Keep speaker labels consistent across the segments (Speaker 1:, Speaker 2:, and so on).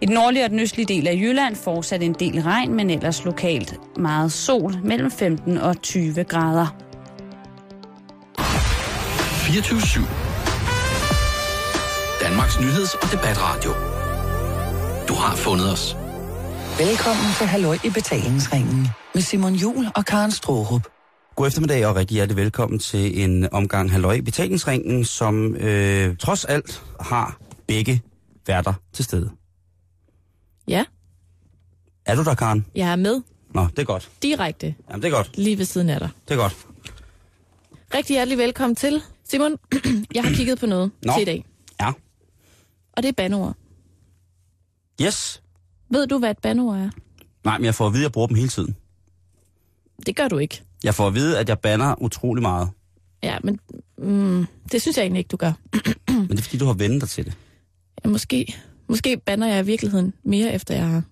Speaker 1: den nordlige og den østlige del af Jylland fortsat en del regn, men ellers lokalt meget sol mellem 15 og 20 grader.
Speaker 2: 24-7. Danmarks nyheds- og debatradio. Du har fundet os.
Speaker 3: Velkommen til Halløj i betalingsringen med Simon Jul og Karen Strohrup.
Speaker 4: God eftermiddag og rigtig hjertelig velkommen til en omgang Halløj i Betalingsringen, som øh, trods alt har begge værter til stede.
Speaker 5: Ja,
Speaker 4: Er du der, Karen?
Speaker 5: jeg er med
Speaker 4: Nå, det er godt.
Speaker 5: direkte
Speaker 4: Jamen, det er godt.
Speaker 5: lige ved siden af dig.
Speaker 4: Det er godt.
Speaker 5: Rigtig hjertelig velkommen til. Simon, jeg har kigget på noget
Speaker 4: Nå.
Speaker 5: til i dag,
Speaker 4: Ja.
Speaker 5: og det er banord.
Speaker 4: Yes.
Speaker 5: Ved du, hvad et banord er?
Speaker 4: Nej, men jeg får at vide, at jeg bruger dem hele tiden.
Speaker 5: Det gør du ikke.
Speaker 4: Jeg får at vide, at jeg banner utrolig meget.
Speaker 5: Ja, men mm, det synes jeg egentlig ikke, du gør. Mm.
Speaker 4: Men det er, fordi du har vendt dig til det.
Speaker 5: Ja, måske, måske banner jeg i virkeligheden mere, efter jeg har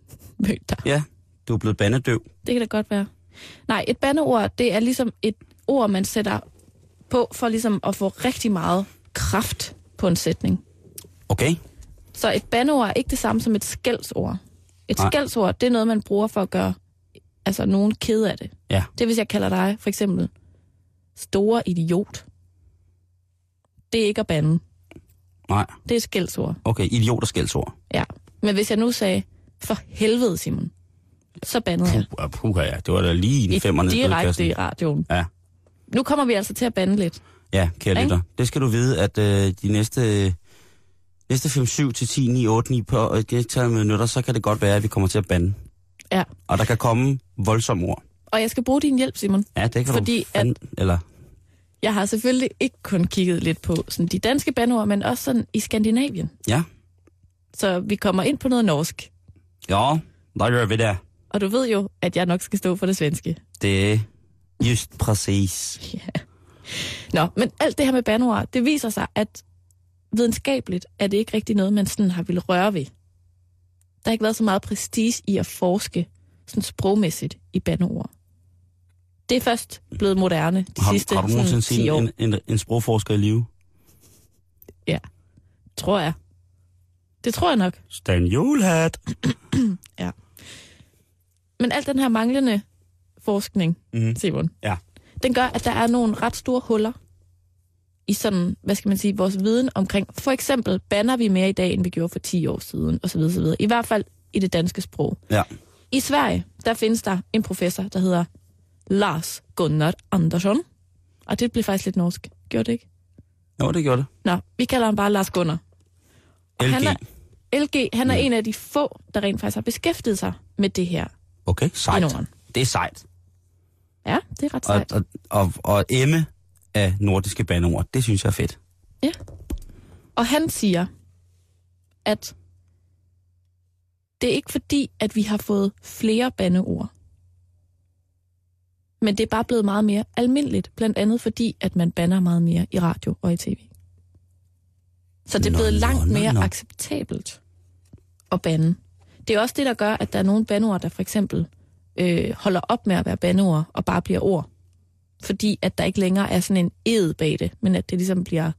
Speaker 5: mødt dig.
Speaker 4: Ja, du er blevet bandedøv.
Speaker 5: Det kan da godt være. Nej, et bandeord, det er ligesom et ord, man sætter på for ligesom at få rigtig meget kraft på en sætning.
Speaker 4: Okay?
Speaker 5: Så et bandeord er ikke det samme som et skældsord. Et
Speaker 4: Nej.
Speaker 5: skældsord, det er noget, man bruger for at gøre altså nogen ked af det.
Speaker 4: Ja.
Speaker 5: Det er, hvis jeg kalder dig for eksempel store idiot. Det er ikke at bande.
Speaker 4: Nej.
Speaker 5: Det er et skældsord.
Speaker 4: Okay, idiot og skældsord.
Speaker 5: Ja. Men hvis jeg nu sagde, for helvede, Simon, så bandede
Speaker 4: Puh,
Speaker 5: jeg.
Speaker 4: puh, ja, det var da lige en
Speaker 5: Et
Speaker 4: femmerne.
Speaker 5: direkte i radioen.
Speaker 4: Ja.
Speaker 5: Nu kommer vi altså til at bande lidt.
Speaker 4: Ja, kære
Speaker 5: Ikke?
Speaker 4: lytter. Det skal du vide, at øh, de næste, næste 5, 7 til 10, 9, 8, 9 på et gentaget minutter, så kan det godt være, at vi kommer til at bande.
Speaker 5: Ja.
Speaker 4: Og der kan komme voldsomme ord.
Speaker 5: Og jeg skal bruge din hjælp, Simon.
Speaker 4: Ja, det kan
Speaker 5: Fordi
Speaker 4: du fand... at... Eller,
Speaker 5: Jeg har selvfølgelig ikke kun kigget lidt på sådan de danske bandeord, men også sådan i Skandinavien.
Speaker 4: ja.
Speaker 5: Så vi kommer ind på noget norsk.
Speaker 4: Ja, der gør vi det.
Speaker 5: Og du ved jo, at jeg nok skal stå for det svenske.
Speaker 4: Det er just præcis.
Speaker 5: Nå, men alt det her med bandeord, det viser sig, at videnskabeligt er det ikke rigtig noget, man sådan har ville røre ved. Der har ikke været så meget prestige i at forske sådan sprogmæssigt i bandeord. Det er først blevet moderne de sidste
Speaker 4: Har, har du
Speaker 5: sådan,
Speaker 4: nogensinde
Speaker 5: 10
Speaker 4: set
Speaker 5: år,
Speaker 4: en, en, en sprogforsker i live?
Speaker 5: tror jeg. Det tror jeg nok.
Speaker 4: Stan Julhat.
Speaker 5: Men al den her manglende forskning,
Speaker 4: Mhm.
Speaker 5: mm. Simon,
Speaker 4: Ja.
Speaker 5: den gør, at der er nogle ret store huller i sådan, hvad skal man sige, vores viden omkring, for eksempel, banner vi mere i dag, end vi gjorde for 10 år siden, osv. osv. I hvert fald i det danske sprog.
Speaker 4: Ja.
Speaker 5: I Sverige, der findes der en professor, der hedder Lars Gunnar Andersson. Og det blev faktisk lidt norsk. Gjorde det ikke?
Speaker 4: Jo, det gjorde det.
Speaker 5: Nå, vi kalder ham bare Lars Gunnar. Og
Speaker 4: LG.
Speaker 5: Han er, LG, han er en af de få, der rent faktisk har beskæftiget sig med det her
Speaker 4: Okay,
Speaker 5: i
Speaker 4: sejt.
Speaker 5: Norden.
Speaker 4: Det er sejt.
Speaker 5: Ja, det er ret
Speaker 4: Og,
Speaker 5: sejt.
Speaker 4: og, og, og emme af nordiske bandeord, det synes jeg er fedt.
Speaker 5: Og han siger, at det er ikke fordi, at vi har fået flere bandeord. Men det er bare blevet meget mere almindeligt, blandt andet fordi, at man banner meget mere i radio og i tv. Så det er
Speaker 4: Nå,
Speaker 5: blevet
Speaker 4: nå,
Speaker 5: langt
Speaker 4: nå,
Speaker 5: mere
Speaker 4: nå.
Speaker 5: acceptabelt at bande. Det er også det, der gør, at der er nogle bandeord, der for eksempel øh, holder op med at være bandeord og bare bliver ord. Fordi at der ikke længere er sådan en ed bag det, men at det ligesom bliver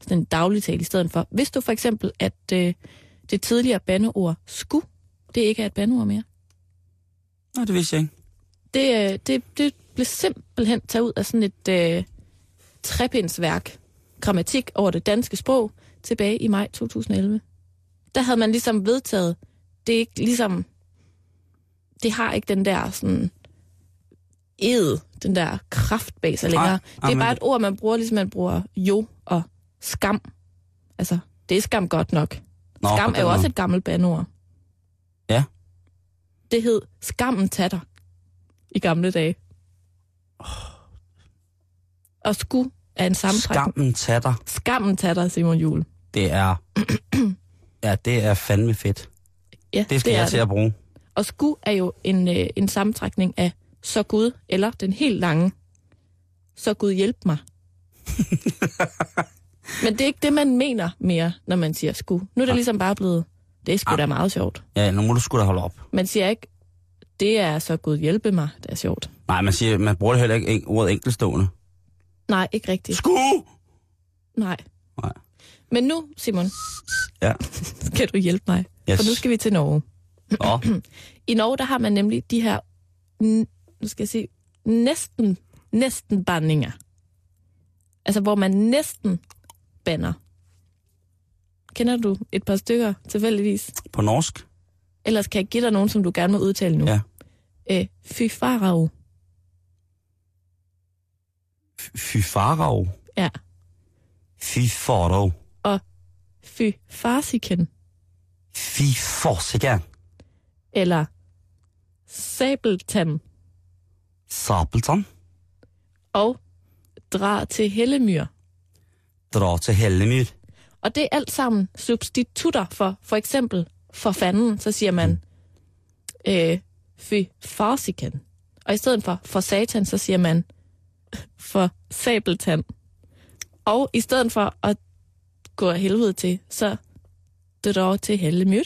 Speaker 5: sådan en dagligtale i stedet for. Hvis du for eksempel, at øh, det tidligere bandeord sku, det ikke er et bandeord mere.
Speaker 4: Nej, det vidste jeg ikke.
Speaker 5: Det, øh, det, det blev simpelthen taget ud af sådan et øh, trepindsværk, grammatik over det danske sprog, tilbage i maj 2011. Der havde man ligesom vedtaget, det er ikke ligesom, det har ikke den der sådan ed, den der kraft bag sig
Speaker 4: Nej,
Speaker 5: længere. det er
Speaker 4: amen.
Speaker 5: bare et ord, man bruger, ligesom man bruger jo og skam. Altså, det er skam godt nok.
Speaker 4: Nå,
Speaker 5: Skam
Speaker 4: på
Speaker 5: er jo
Speaker 4: den
Speaker 5: også
Speaker 4: måde.
Speaker 5: et gammelt bandord.
Speaker 4: Ja.
Speaker 5: Det hed skammen tatter i gamle dage. Og sku er en sammentrækning.
Speaker 4: Skammen tatter.
Speaker 5: Skammen tatter, Simon Jul.
Speaker 4: Det er... ja, det er fandme fedt.
Speaker 5: Ja,
Speaker 4: Det skal det
Speaker 5: er
Speaker 4: jeg til at bruge.
Speaker 5: Og sku er jo en, øh, en sammentrækning af så Gud, eller den helt lange, så Gud hjælp mig. Men det er ikke det, man mener mere, når man siger sku. Nu er det ligesom bare blevet, det er
Speaker 4: Ah.
Speaker 5: sgu da meget sjovt.
Speaker 4: Ja, nu må du sgu da holde op.
Speaker 5: Man siger ikke, det er så Gud hjælpe mig, det er sjovt.
Speaker 4: Nej, man, siger, man bruger det heller ikke en- ordet enkeltstående.
Speaker 5: Nej, ikke rigtigt.
Speaker 4: Sku!
Speaker 5: Nej.
Speaker 4: Nej.
Speaker 5: Men nu, Simon,
Speaker 4: Ja.
Speaker 5: kan du hjælpe mig? Yes. For nu skal vi til Norge.
Speaker 4: Nå.
Speaker 5: I Norge, der har man nemlig de her, n- nu skal jeg se, næsten, næsten bandinger. Altså, hvor man næsten banner. Kender du et par stykker, tilfældigvis?
Speaker 4: På norsk?
Speaker 5: Ellers kan jeg give dig nogen, som du gerne må udtale nu.
Speaker 4: Ja.
Speaker 5: Øh, fy farao.
Speaker 4: F- Fy farao.
Speaker 5: Ja.
Speaker 4: Fy farao.
Speaker 5: Og fy farsiken.
Speaker 4: Fy forsigan.
Speaker 5: Eller sabeltam.
Speaker 4: Sabeltan.
Speaker 5: Og dra til hellemyr.
Speaker 4: Dra til Hellemyr.
Speaker 5: Og det er alt sammen substitutter for, for eksempel, for fanden, så siger man, øh, fy farsiken. Og i stedet for for satan, så siger man, for sabeltand. Og i stedet for at gå af helvede til, så dra til hellemyr.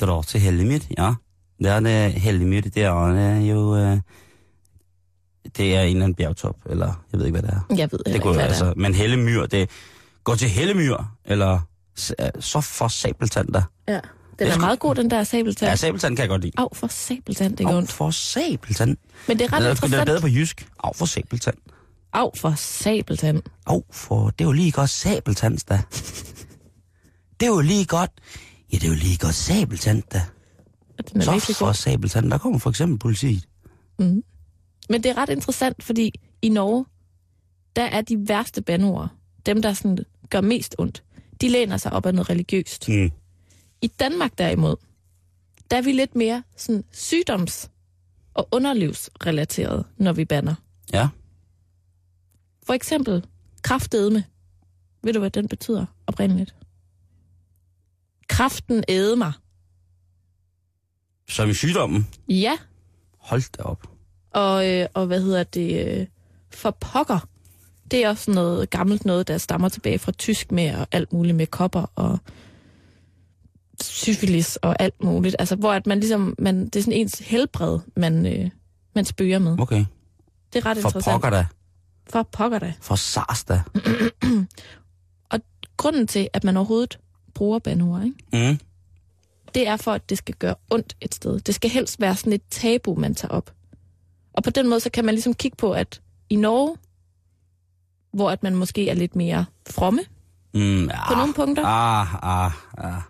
Speaker 4: Dra til Hellemyr, ja. Der er det Hellemyr, det er øh, jo... Øh, det er en eller anden bjergtop, eller jeg ved ikke, hvad det er.
Speaker 5: Jeg ved
Speaker 4: Det
Speaker 5: heller
Speaker 4: kunne
Speaker 5: ikke,
Speaker 4: jo
Speaker 5: hvad det er.
Speaker 4: altså, men Hellemyr, det går til Hellemyr, eller s- øh, så for sabeltand da.
Speaker 5: Ja. Den er
Speaker 4: sgu-
Speaker 5: meget god, den der sabeltand.
Speaker 4: Ja, sabeltand kan jeg godt lide.
Speaker 5: Au, for sabeltand, det gør ondt.
Speaker 4: for sabeltand.
Speaker 5: Men det er
Speaker 4: Den
Speaker 5: ret
Speaker 4: er, den er bedre
Speaker 5: interessant.
Speaker 4: på jysk. Au for sabeltand.
Speaker 5: Au, for sabeltand.
Speaker 4: Au for, det er jo lige godt sabeltands da. Det er jo lige godt, ja det er jo lige godt sabeltand da.
Speaker 5: Og Den er
Speaker 4: Så
Speaker 5: virkelig
Speaker 4: for
Speaker 5: god.
Speaker 4: sabeltand, der kommer for eksempel politiet.
Speaker 5: Men det er ret interessant, fordi i Norge, der er de værste bandord, dem der sådan gør mest ondt, de læner sig op af noget religiøst.
Speaker 4: Mm.
Speaker 5: I Danmark derimod, der er vi lidt mere sådan sygdoms- og underlivsrelateret, når vi banner.
Speaker 4: Ja.
Speaker 5: For eksempel kraftedme. Ved du, hvad den betyder oprindeligt? Kraften æde mig.
Speaker 4: Som i sygdommen.
Speaker 5: Ja,
Speaker 4: Hold da op.
Speaker 5: og, øh, og hvad hedder det, øh, for pokker. Det er også noget gammelt noget, der stammer tilbage fra tysk med og alt muligt med kopper og syfilis og alt muligt. Altså, hvor at man ligesom, man, det er sådan ens helbred, man, øh, man spøger med.
Speaker 4: Okay.
Speaker 5: Det er ret
Speaker 4: For
Speaker 5: interessant.
Speaker 4: pokker da.
Speaker 5: For pokker da.
Speaker 4: For sars da.
Speaker 5: Grunden til, at man overhovedet bruger banord, ikke?
Speaker 4: Mm.
Speaker 5: det er for, at det skal gøre ondt et sted. Det skal helst være sådan et tabu, man tager op. Og på den måde, så kan man ligesom kigge på, at i Norge, hvor at man måske er lidt mere fromme
Speaker 4: Mm, ja.
Speaker 5: på nogle punkter,
Speaker 4: Ah, ah, ah.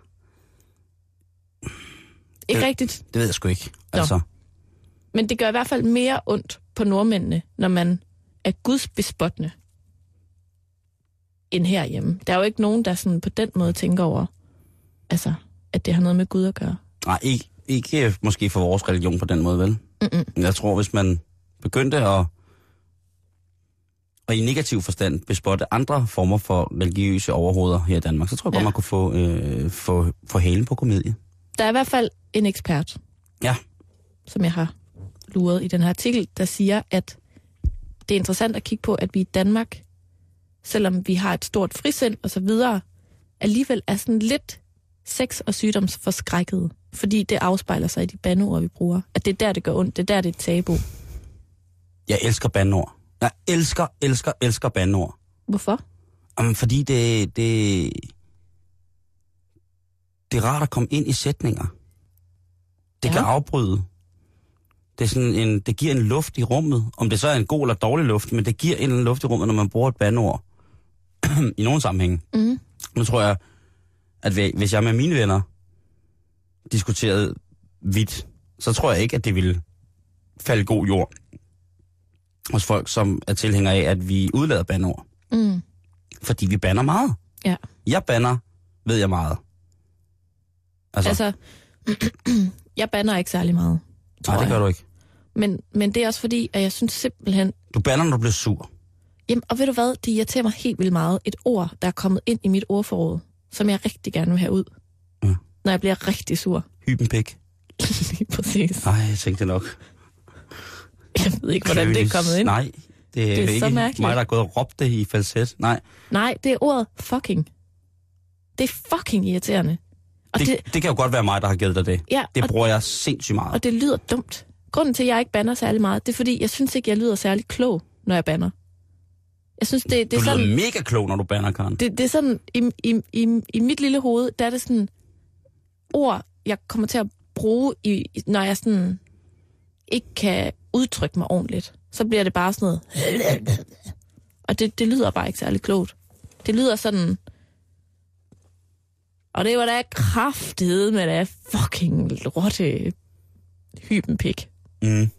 Speaker 5: ikke
Speaker 4: det-
Speaker 5: rigtigt,
Speaker 4: Det ved jeg sgu ikke. Altså,
Speaker 5: men det gør i hvert fald mere ondt på nordmændene, når man er gudsbespottende end herhjemme. Der er jo ikke nogen, der sådan på den måde tænker over, altså, at det har noget med Gud at gøre.
Speaker 4: nej, ikke, ikke øh, måske for vores religion på den måde, vel?
Speaker 5: Mm-mm.
Speaker 4: Men Jeg tror, hvis man begyndte at, at i negativ forstand bespotte andre former for religiøse overhoveder her i Danmark, så tror jeg godt,
Speaker 5: Ja.
Speaker 4: man kunne få, øh, få, få halen på komedie.
Speaker 5: Der er i hvert fald en ekspert,
Speaker 4: Ja.
Speaker 5: som jeg har luret i den her artikel, der siger, at det er interessant at kigge på, at vi i Danmark, selvom vi har et stort frisind og så videre, alligevel er sådan lidt sex- og sygdomsforskrækket, fordi det afspejler sig i de bandeord, vi bruger. At det er der, det gør ondt. Det er der, det er et tabu.
Speaker 4: Jeg elsker bandord. Jeg elsker, elsker, elsker bandord.
Speaker 5: Hvorfor?
Speaker 4: Jamen, fordi det, det, det er rart at komme ind i sætninger. Det
Speaker 5: Ja.
Speaker 4: ja. kan afbryde. Det, er sådan en, det giver en luft i rummet. Om det så er en god eller dårlig luft, men det giver en eller anden luft i rummet, når man bruger et bandord. I nogle sammenhænge.
Speaker 5: Mhm.
Speaker 4: Nu tror jeg, at hvi- hvis jeg med mine venner diskuterede vidt, så tror jeg ikke, at det ville falde god jord hos folk, som er tilhængere af, at vi udlader bandord
Speaker 5: Mm.
Speaker 4: fordi vi banner meget.
Speaker 5: Ja.
Speaker 4: Jeg banner, ved jeg meget. Altså, altså
Speaker 5: Altså, jeg banner ikke særlig meget. tror
Speaker 4: nej, det
Speaker 5: jeg.
Speaker 4: gør du ikke.
Speaker 5: Men, men det er også fordi, at jeg synes simpelthen,
Speaker 4: Du banner, når du bliver sur.
Speaker 5: Jamen, og ved du hvad, det irriterer mig helt vildt meget. Et ord, der er kommet ind i mit ordforråd, som jeg rigtig gerne vil have ud.
Speaker 4: Ja.
Speaker 5: Når jeg bliver rigtig sur.
Speaker 4: Hybenpæk.
Speaker 5: Lige præcis.
Speaker 4: Nej, jeg tænkte nok.
Speaker 5: Jeg ved ikke, hvordan det er
Speaker 4: Klønis.
Speaker 5: kommet ind. Nej,
Speaker 4: Nej, det er,
Speaker 5: Det er så
Speaker 4: ikke
Speaker 5: mærkeligt.
Speaker 4: mig, der er gået og råbt det i falset. Nej,
Speaker 5: Nej det er ordet fucking. Det er fucking irriterende. Og
Speaker 4: det,
Speaker 5: det,
Speaker 4: det, det kan jo godt være mig, der har givet dig det.
Speaker 5: ja,
Speaker 4: Det
Speaker 5: og,
Speaker 4: bruger jeg sindssygt meget.
Speaker 5: og det lyder dumt. Grunden til, at jeg ikke banner særlig meget, det er fordi, jeg synes ikke, jeg lyder særlig klog, når jeg banner. Jeg synes, det, det
Speaker 4: Du
Speaker 5: er sådan...
Speaker 4: lyder mega klog, når du banner, Karen.
Speaker 5: Det, det er sådan, i, i, i, i mit lille hoved, der er det sådan, ord, jeg kommer til at bruge, i, når jeg sådan ikke kan udtrykke mig ordentligt. Så bliver det bare sådan noget... Og det, det lyder bare ikke særlig klogt. Det lyder sådan... Og det var da kraftedet med da fucking rotte hybenpik.
Speaker 4: Mm.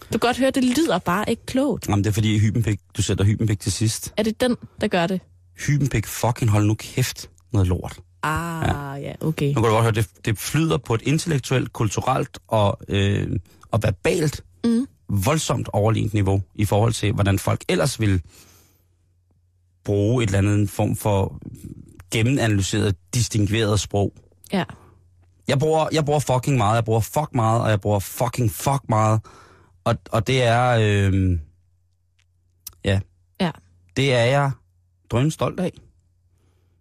Speaker 5: Du kan godt høre, det lyder bare ikke klogt.
Speaker 4: Jamen, det er fordi hybenpik, du sætter hybenpik til sidst.
Speaker 5: Er det den, der gør det?
Speaker 4: Hybenpik, fucking hold nu kæft noget lort.
Speaker 5: Ah, ja, ja okay.
Speaker 4: Nu kan du godt høre, det, det flyder på et intellektuelt, kulturelt og, øh, og verbalt
Speaker 5: Mm.
Speaker 4: voldsomt overlignet niveau i forhold til, hvordan folk ellers vil bruge et eller andet form for gennemanalyseret, distingueret sprog.
Speaker 5: Ja.
Speaker 4: Jeg bruger, jeg bruger fucking meget, jeg bruger fuck meget, og jeg bruger fucking fuck meget. Og, og det er... Øh, ja.
Speaker 5: Ja.
Speaker 4: Det er jeg drøn stolt af.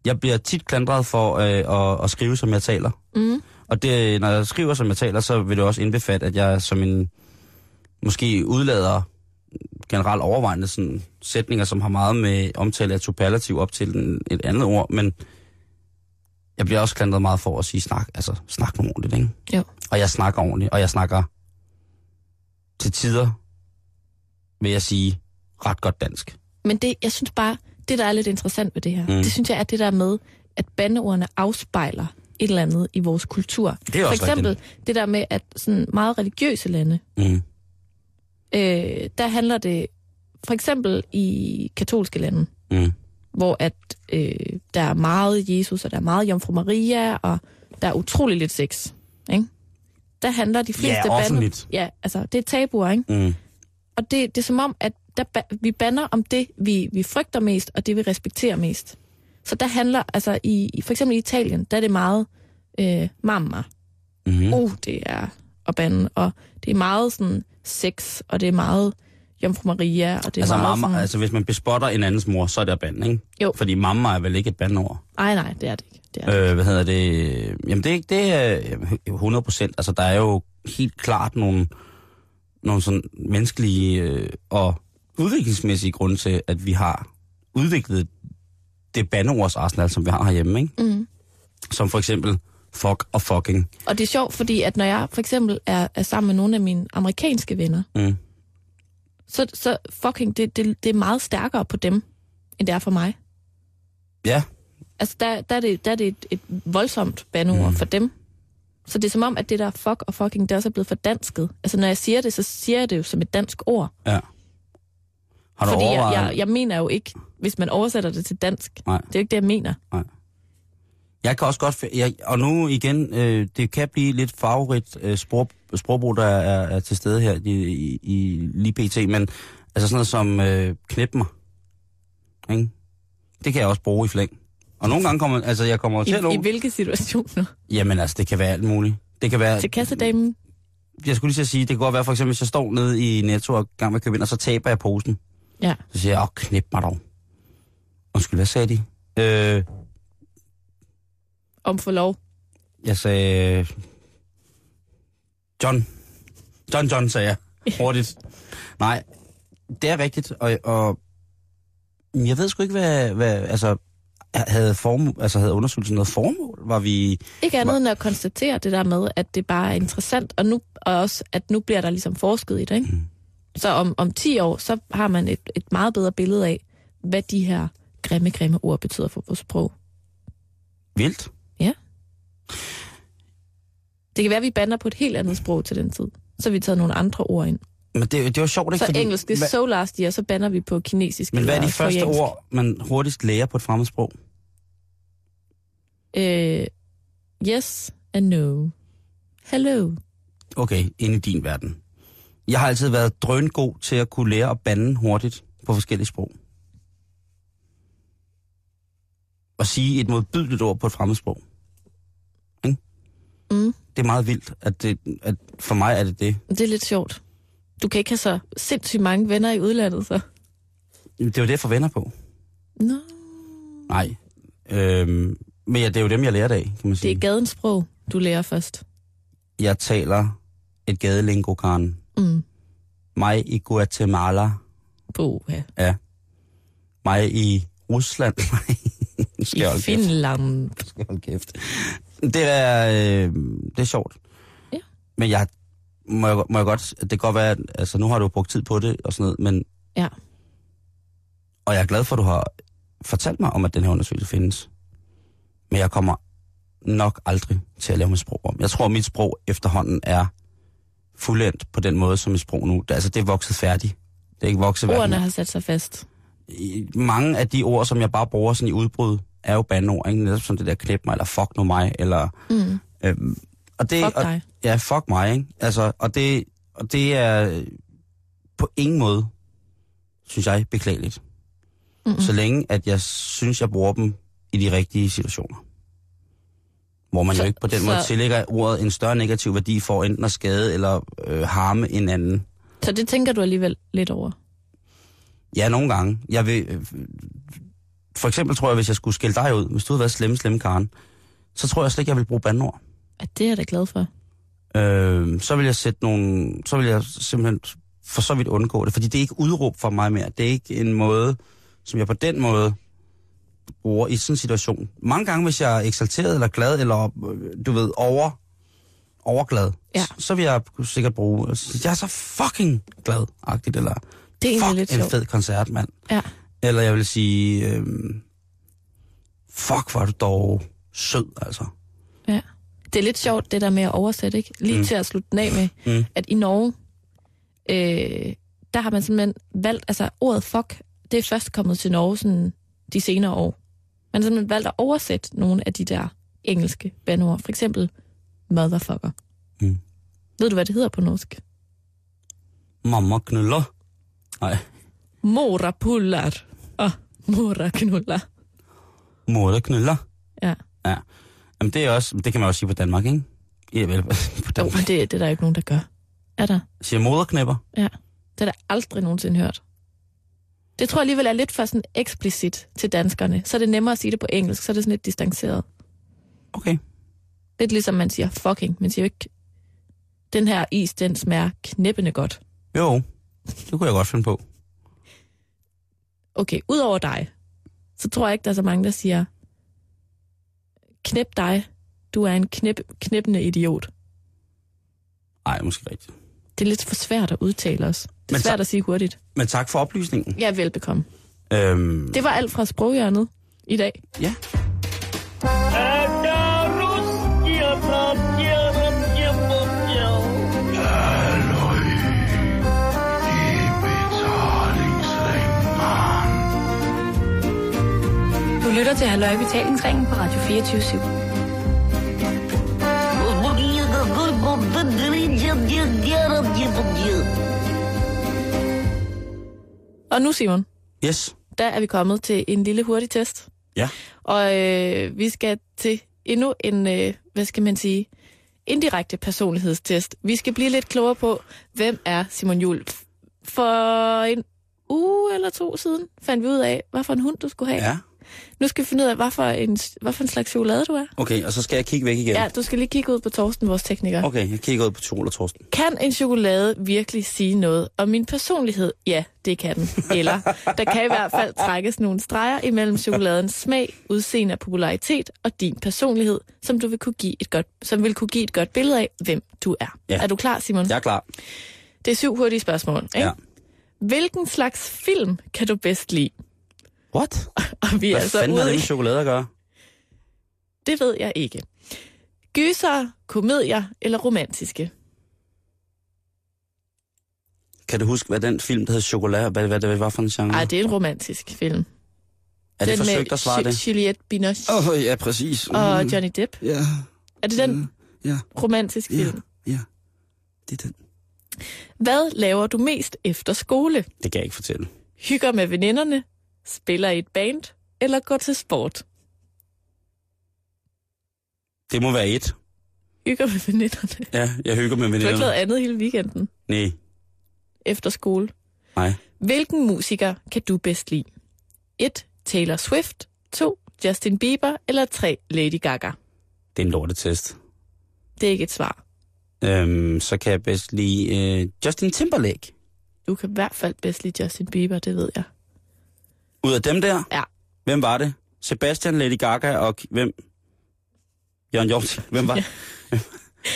Speaker 4: Jeg bliver tit klandret for øh, at, at skrive, som jeg taler.
Speaker 5: Mm.
Speaker 4: Og det, når jeg skriver, som jeg taler, så vil det også indbefatte, at jeg som en måske udlader generelt overvejende sådan, sætninger, som har meget med omtale af superlativ op til en, et andet ord, men jeg bliver også klandret meget for at sige snak, altså snak nu ordentligt, ikke?
Speaker 5: Jo.
Speaker 4: Og jeg snakker ordentligt, og jeg snakker til tider, vil jeg sige, ret godt dansk.
Speaker 5: Men det, jeg synes bare, det der er lidt interessant ved det her, mm.
Speaker 4: Mm.
Speaker 5: det synes jeg er det der med, at bandeordene afspejler et eller andet i vores kultur.
Speaker 4: Det er
Speaker 5: For
Speaker 4: også
Speaker 5: eksempel det der med, at sådan meget religiøse lande,
Speaker 4: rigtigt. Mm.
Speaker 5: øh, der handler det for eksempel i katolske lande,
Speaker 4: Mm.
Speaker 5: hvor at øh, der er meget Jesus, og der er meget Jomfru Maria, og der er utrolig lidt sex. Ikke? Der handler de fleste bande-
Speaker 4: offentligt.
Speaker 5: Ja, altså det er tabuer, ikke?
Speaker 4: Mm.
Speaker 5: Og det, det er som om, at der, ba- vi banner om det, vi, vi frygter mest, og det, vi respekterer mest. Så der handler, altså i, i- for eksempel i Italien, der er det meget øh, mamma.
Speaker 4: Mm.
Speaker 5: Uh, det er at bande, og det er meget sådan sex, og det er meget Jomfru Maria, og det er
Speaker 4: Altså,
Speaker 5: meget
Speaker 4: mamma,
Speaker 5: sådan...
Speaker 4: altså, hvis man bespotter en andens mor, så er det at bande, ikke?
Speaker 5: Jo.
Speaker 4: Fordi mamma er vel ikke et bandord?
Speaker 5: Ej, nej, det er det ikke. Det er det.
Speaker 4: Øh, hvad hedder det? Jamen, det er, ikke- det er øh, 100 procent. Altså, der er jo helt klart nogle, nogle sådan menneskelige øh, og udviklingsmæssige grunde til, at vi har udviklet det bandeords arsenal, som vi har herhjemme, ikke?
Speaker 5: Mm.
Speaker 4: Som for eksempel fuck og fucking.
Speaker 5: Og det er sjovt, fordi at når jeg for eksempel er, er sammen med nogle af mine amerikanske venner,
Speaker 4: Mm.
Speaker 5: så, så fucking, det, det, det er meget stærkere på dem, end det er for mig.
Speaker 4: Ja,
Speaker 5: Altså, der, der, er, det, der er det et, et voldsomt bandeord mm. for dem. Så det er som om, at det der fuck og fucking, det også er blevet for dansket. Altså, når jeg siger det, så siger jeg det jo som et dansk ord.
Speaker 4: ja. Har du
Speaker 5: fordi jeg,
Speaker 4: overvejet?
Speaker 5: jeg, jeg mener jo ikke, hvis man oversætter det til dansk.
Speaker 4: Nej.
Speaker 5: Det er jo ikke det, jeg mener.
Speaker 4: Jeg kan også godt... f- Jeg, og nu igen, øh, det kan blive lidt favorit øh, sprog, sprogbrug, der er, er til stede her i, i, i lige pt. Men altså sådan noget som øh, knip mig. Ikke? Det kan jeg også bruge i flæng. Og nogle gange kommer... Altså, jeg kommer til at...
Speaker 5: I, I
Speaker 4: nå-
Speaker 5: hvilke situationer?
Speaker 4: Jamen altså, det kan være alt muligt. Det kan være...
Speaker 5: Til kassedamen?
Speaker 4: Jeg skulle lige til at sige, det kan godt være, for eksempel, hvis jeg står nede i Netto og er i gang med at købe ind, og så taber jeg posen.
Speaker 5: Ja.
Speaker 4: Så siger jeg, åh, knip mig dog. Undskyld, hvad sagde de? Øh,
Speaker 5: Om for lov?
Speaker 4: Jeg sagde... John. John John, sagde jeg. Hurtigt. Nej, det er rigtigt, og, og jeg ved sgu ikke, hvad, hvad altså, havde, form, altså, havde undersøgelsen noget formål? Var vi...
Speaker 5: Ikke andet
Speaker 4: Hva-
Speaker 5: end at konstatere det der med, at det bare er interessant, og, nu, og også, at nu bliver der ligesom forsket i det. Ikke? Mm. Så om, om 10 år, så har man et, et meget bedre billede af, hvad de her grimme, grimme ord betyder for vores sprog.
Speaker 4: Vildt.
Speaker 5: Det kan være, at vi bander på et helt andet sprog til den tid. Så har vi taget nogle andre ord ind.
Speaker 4: Men det, det var sjovt, ikke?
Speaker 5: Så engelsk, det er so last year, så bander vi på kinesisk.
Speaker 4: men hvad er de
Speaker 5: eller
Speaker 4: første
Speaker 5: koreansk.
Speaker 4: ord, man hurtigst lærer på et fremmedsprog?
Speaker 5: Øh, yes and no. Hello.
Speaker 4: Okay, ind i din verden. Jeg har altid været drøngod til at kunne lære at bande hurtigt på forskellige sprog. Og sige et modbydeligt ord på et fremmedsprog. Ikke?
Speaker 5: Mm.
Speaker 4: Det er meget vildt, at, det, at for mig er det det.
Speaker 5: Det er lidt sjovt. Du kan ikke have så sindssygt mange venner i udlandet, så.
Speaker 4: Det er jo det, jeg får venner på.
Speaker 5: Nå.
Speaker 4: Nej. Øhm, men ja, det er jo dem, jeg lærte af, kan man
Speaker 5: Det
Speaker 4: sige.
Speaker 5: er gadens sprog, du lærer først.
Speaker 4: Jeg taler et gadelingo, Karen.
Speaker 5: Mm.
Speaker 4: Mig i Guatemala.
Speaker 5: Boha.
Speaker 4: Ja. Mig i Rusland. Nej, nu skal jeg
Speaker 5: I
Speaker 4: holde kæft.
Speaker 5: Finland.
Speaker 4: Hold kæft. Det er, øh, det er sjovt.
Speaker 5: Ja.
Speaker 4: Men jeg, må, jeg, må jeg godt, det kan godt være, at- altså nu har du brugt tid på det og sådan noget, men...
Speaker 5: Ja.
Speaker 4: Og jeg er glad for, at du har fortalt mig om, at den her undersøgelse findes. Men jeg kommer nok aldrig til at lave mit sprog om. Jeg tror, at mit sprog efterhånden er fuldendt på den måde, som mit sprog nu... Det, altså, det er vokset færdigt. Det er ikke vokset hverken-
Speaker 5: Ordene har sat sig fast.
Speaker 4: i- mange af de ord, som jeg bare bruger sådan i udbrud, er jo bandord, ikke? Netop som det der knep mig, eller fuck nu mig, eller...
Speaker 5: Mm.
Speaker 4: Øhm, og det,
Speaker 5: Fuck
Speaker 4: og,
Speaker 5: dig.
Speaker 4: Ja, fuck mig, ikke? Altså, og det, og det er øh, på ingen måde, synes jeg, beklageligt.
Speaker 5: Mm-mm.
Speaker 4: Mm. Så længe, at jeg synes, jeg bruger dem i de rigtige situationer. Hvor man
Speaker 5: Så-
Speaker 4: jo ikke på den
Speaker 5: så-
Speaker 4: måde tillægger ordet en større negativ værdi for enten at skade eller øh, harme en anden.
Speaker 5: Så det tænker du alligevel lidt over.
Speaker 4: Ja, nogle gange. Jeg vil, øh, for eksempel tror jeg, hvis jeg skulle skælde dig ud, hvis du havde været slemme, slemme Karen, så tror jeg slet ikke, jeg ville bruge bandord.
Speaker 5: At det er jeg da glad for.
Speaker 4: Øh, så vil jeg sætte nogle, så vil jeg simpelthen for så vidt undgå det, fordi det er ikke udråb for mig mere. Det er ikke en måde, som jeg på den måde bruger i sådan en situation. Mange gange, hvis jeg er eksalteret eller glad, eller øh, du ved, over, overglad,
Speaker 5: Ja.
Speaker 4: s- så vil jeg sikkert bruge, altså, jeg er så fucking glad-agtigt, eller
Speaker 5: Det er egentlig
Speaker 4: fuck
Speaker 5: lidt
Speaker 4: en
Speaker 5: sjovt.
Speaker 4: fed koncert, mand.
Speaker 5: Ja.
Speaker 4: Eller jeg vil sige, øh, fuck, hvor er du dog sød, altså.
Speaker 5: Ja. Det er lidt sjovt, det der med at oversætte, ikke? Lige
Speaker 4: Mm.
Speaker 5: mm. til at slutte den af med,
Speaker 4: Mm.
Speaker 5: mm. at i Norge, øh, der har man simpelthen valgt, altså ordet fuck, det er først kommet til Norge sådan, de senere år. Man har simpelthen valgt at oversætte nogle af de der engelske bandord. For eksempel motherfucker.
Speaker 4: Mm.
Speaker 5: Ved du, hvad det hedder på norsk?
Speaker 4: Mamma knuller. Nej,
Speaker 5: Morapullar og moraknuller.
Speaker 4: mor der knuller.
Speaker 5: Ja.
Speaker 4: Ja. Jamen, det, er også, det kan man også sige på Danmark, ikke? Ja, vel, på
Speaker 5: Jo,
Speaker 4: Danmark.
Speaker 5: men det, det er der ikke nogen, der gør. Er der?
Speaker 4: Siger moderknæpper.
Speaker 5: Ja. Det er der aldrig nogensinde hørt. Det tror jeg alligevel er lidt for sådan eksplicit til danskerne. Så er det nemmere at sige det på engelsk, så er det sådan lidt distanceret.
Speaker 4: Okay.
Speaker 5: Lidt ligesom man siger fucking. Man siger jo ikke, den her is, den smager knæppende godt.
Speaker 4: Jo, det kunne jeg godt finde på.
Speaker 5: Okay, udover dig, så tror jeg ikke, der er så mange, der siger, knæp dig, du er en knæp, knæppende idiot.
Speaker 4: Nej, måske rigtigt.
Speaker 5: Det er lidt for svært at udtale os. Det er
Speaker 4: Men så-
Speaker 5: svært at sige hurtigt.
Speaker 4: Men tak for oplysningen.
Speaker 5: Ja, velbekomme.
Speaker 4: Øhm,
Speaker 5: Det var alt fra sproghjørnet i dag.
Speaker 4: Ja.
Speaker 6: Du lytter til Halløj i Betalingsringen på Radio 24 /7.
Speaker 5: Og nu, Simon,
Speaker 4: Yes.
Speaker 5: der er vi kommet til en lille hurtig test.
Speaker 4: Ja.
Speaker 5: Og øh, vi skal til endnu en, øh, hvad skal man sige, indirekte personlighedstest. Vi skal blive lidt klogere på, hvem er Simon Jul. For en uge eller to siden fandt vi ud af, hvad for en hund du skulle have.
Speaker 4: Ja.
Speaker 5: Nu skal vi finde ud af, hvad for en, hvad for en slags chokolade du er.
Speaker 4: Okay, og så skal jeg kigge væk igen.
Speaker 5: Ja. ja, du skal lige kigge ud på Torsten, vores tekniker.
Speaker 4: Okay, jeg kigger ud på Tjol og Torsten.
Speaker 5: Kan en chokolade virkelig sige noget om min personlighed? Ja, det kan den. Eller der kan i hvert fald trækkes nogle streger imellem chokoladens smag, udseende og popularitet og din personlighed, som du vil kunne give et godt, som vil kunne give et godt billede af, hvem du er.
Speaker 4: Ja.
Speaker 5: Ja. Er du klar, Simon?
Speaker 4: Jeg er klar.
Speaker 5: Det er syv hurtige spørgsmål. Ikke?
Speaker 4: Ja.
Speaker 5: Hvilken slags film kan du bedst lide?
Speaker 4: What?
Speaker 5: Og vi er
Speaker 4: Hvad
Speaker 5: altså
Speaker 4: fanden har
Speaker 5: ude
Speaker 4: det
Speaker 5: i...
Speaker 4: med chokolade at gøre?
Speaker 5: Det ved jeg ikke. Gyser, komedier eller romantiske?
Speaker 4: Kan du huske, hvad den film, der hed Chokolade, hvad, hvad det var for en genre?
Speaker 5: Nej, det er en romantisk film.
Speaker 4: er det
Speaker 5: Den med
Speaker 4: forsøgt at svare
Speaker 5: Ju-
Speaker 4: det?
Speaker 5: Juliette Binoche oh.
Speaker 4: ja, præcis.
Speaker 5: og Johnny Depp.
Speaker 4: Ja,
Speaker 5: Er det den
Speaker 4: Mm. ja,
Speaker 5: romantisk film?
Speaker 4: ja. Det er den.
Speaker 5: Hvad laver du mest efter skole?
Speaker 4: Det kan jeg ikke fortælle.
Speaker 5: Hygger med veninderne? Spiller i et band? Eller går til sport?
Speaker 4: Det må være et.
Speaker 5: Hygger med veninderne.
Speaker 4: Ja, jeg hygger med
Speaker 5: Du har ikke
Speaker 4: veninderne.
Speaker 5: lavet andet hele weekenden
Speaker 4: Nej,
Speaker 5: efter skole.
Speaker 4: nej.
Speaker 5: Hvilken musiker kan du bedst lide? 1. Taylor Swift 2. Justin Bieber Eller 3. Lady Gaga
Speaker 4: Det er en lortetest.
Speaker 5: Det er ikke et svar.
Speaker 4: Øhm, så kan jeg bedst lide øh, Justin Timberlake.
Speaker 5: Du kan i hvert fald bedst lide Justin Bieber, det ved jeg.
Speaker 4: Ud af dem der?
Speaker 5: Ja.
Speaker 4: Hvem var det? Sebastian, Lady Gaga og k- hvem? Jørgen Hjort. Hvem var?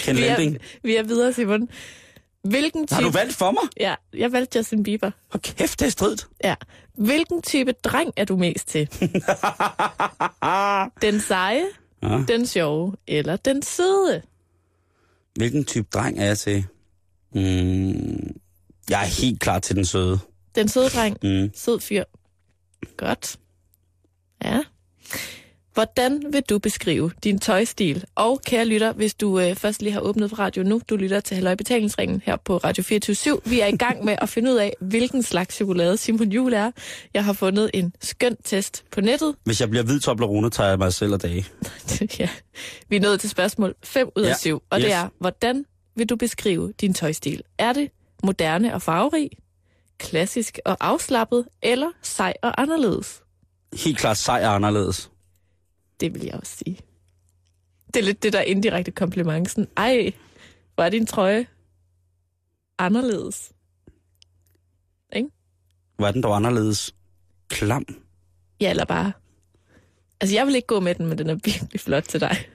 Speaker 4: Ken
Speaker 5: vi,
Speaker 4: Lending.
Speaker 5: er, vi er videre, Simon. Hvilken type...
Speaker 4: Har du valgt for mig?
Speaker 5: Ja, jeg valgte Justin Bieber.
Speaker 4: Hvor kæft, det er stridt.
Speaker 5: Ja. Hvilken type dreng er du mest til? den seje,
Speaker 4: Ja.
Speaker 5: den sjove eller den søde?
Speaker 4: Hvilken type dreng er jeg til? Mm, jeg er helt klar til den søde.
Speaker 5: Den søde dreng,
Speaker 4: Mm.
Speaker 5: sød fyr. Godt. Ja. Hvordan vil du beskrive din tøjstil? Og kære lytter, hvis du øh, først lige har åbnet for radio nu, du lytter til Halløj Betalingsringen her på Radio 24 Vi er i gang med at finde ud af, hvilken slags chokolade Simon Jul er. Jeg har fundet en skøn test på nettet.
Speaker 4: Hvis jeg bliver hvid Toblerone, tager jeg mig selv af dage.
Speaker 5: ja. Vi er nået til spørgsmål 5 ud af
Speaker 4: Ja,
Speaker 5: 7, og yes.
Speaker 4: yes.
Speaker 5: det er, hvordan vil du beskrive din tøjstil? Er det moderne og farverig, klassisk og afslappet, eller sej og anderledes?
Speaker 4: Helt klart sej og anderledes.
Speaker 5: Det vil jeg også sige. Det er lidt det der indirekte kompliment. Sådan, Ej, hvor er din trøje anderledes.
Speaker 4: Var den dog anderledes? Klam.
Speaker 5: Ja, eller bare... Altså, jeg vil ikke gå med den, men den er virkelig flot til dig.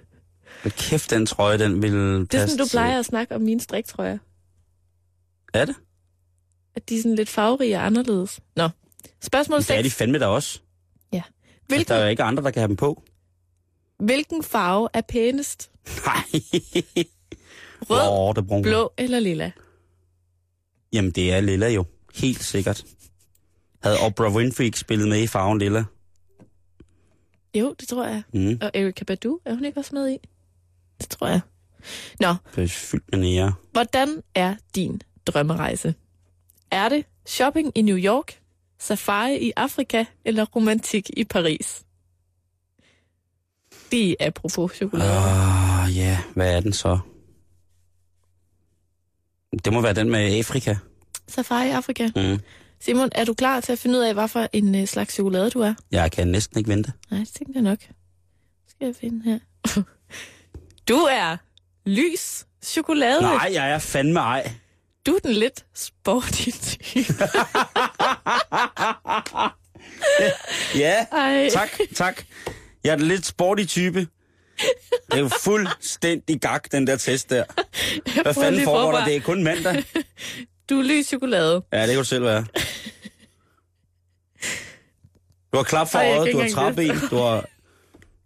Speaker 4: Hvor kæft, den trøje, den ville
Speaker 5: Det er
Speaker 4: passe
Speaker 5: sådan, du
Speaker 4: til-
Speaker 5: plejer at snakke om mine striktrøjer.
Speaker 4: Er det?
Speaker 5: At de er sådan lidt farverige og anderledes. Nå. Spørgsmål
Speaker 4: Det er de
Speaker 5: 6.
Speaker 4: fandme der også. Hvilken?
Speaker 5: Hvilken,
Speaker 4: Der er jo ikke andre, der kan have dem på.
Speaker 5: hvilken farve er pænest?
Speaker 4: Nej.
Speaker 5: Rød,
Speaker 4: Åh, det brun.
Speaker 5: blå eller lilla?
Speaker 4: Jamen, det er lilla jo. Helt sikkert. Havde Oprah Winfrey ikke spillet med i farven lilla?
Speaker 5: Jo, det tror jeg.
Speaker 4: Mm.
Speaker 5: Og Erika Badu, er hun ikke også med i? Det tror jeg. Nå,
Speaker 4: Det er fyldt med nære.
Speaker 5: Hvordan er din drømmerejse? Er det shopping i New York, safari i Afrika eller romantik i Paris? Det er apropos chokolade.
Speaker 4: Åh, oh, ja. Hvad er den så? Det må være den med Afrika.
Speaker 5: Safari i Afrika.
Speaker 4: Mm.
Speaker 5: Simon, er du klar til at finde ud af, hvorfor en øh, slags chokolade du er?
Speaker 4: Jeg kan næsten ikke vente.
Speaker 5: Nej, det tænkte jeg nok. Skal jeg finde her? Du er lys chokolade.
Speaker 4: Nej, jeg er fandme ej.
Speaker 5: Du er den lidt sporty type.
Speaker 4: Ja,
Speaker 5: Ej.
Speaker 4: tak, tak. Jeg er den lidt sporty type. Det er jo fuldstændig gak, den der test der. Hvad
Speaker 5: prøver
Speaker 4: fanden
Speaker 5: lige
Speaker 4: foregår der?
Speaker 5: forfra.
Speaker 4: Det er kun mandag.
Speaker 5: Du er lys chokolade.
Speaker 4: Ja, det kan du selv være. Du har klap for
Speaker 5: Ej, jeg kan
Speaker 4: øjet,
Speaker 5: ikke
Speaker 4: du har
Speaker 5: engang
Speaker 4: træben, du har,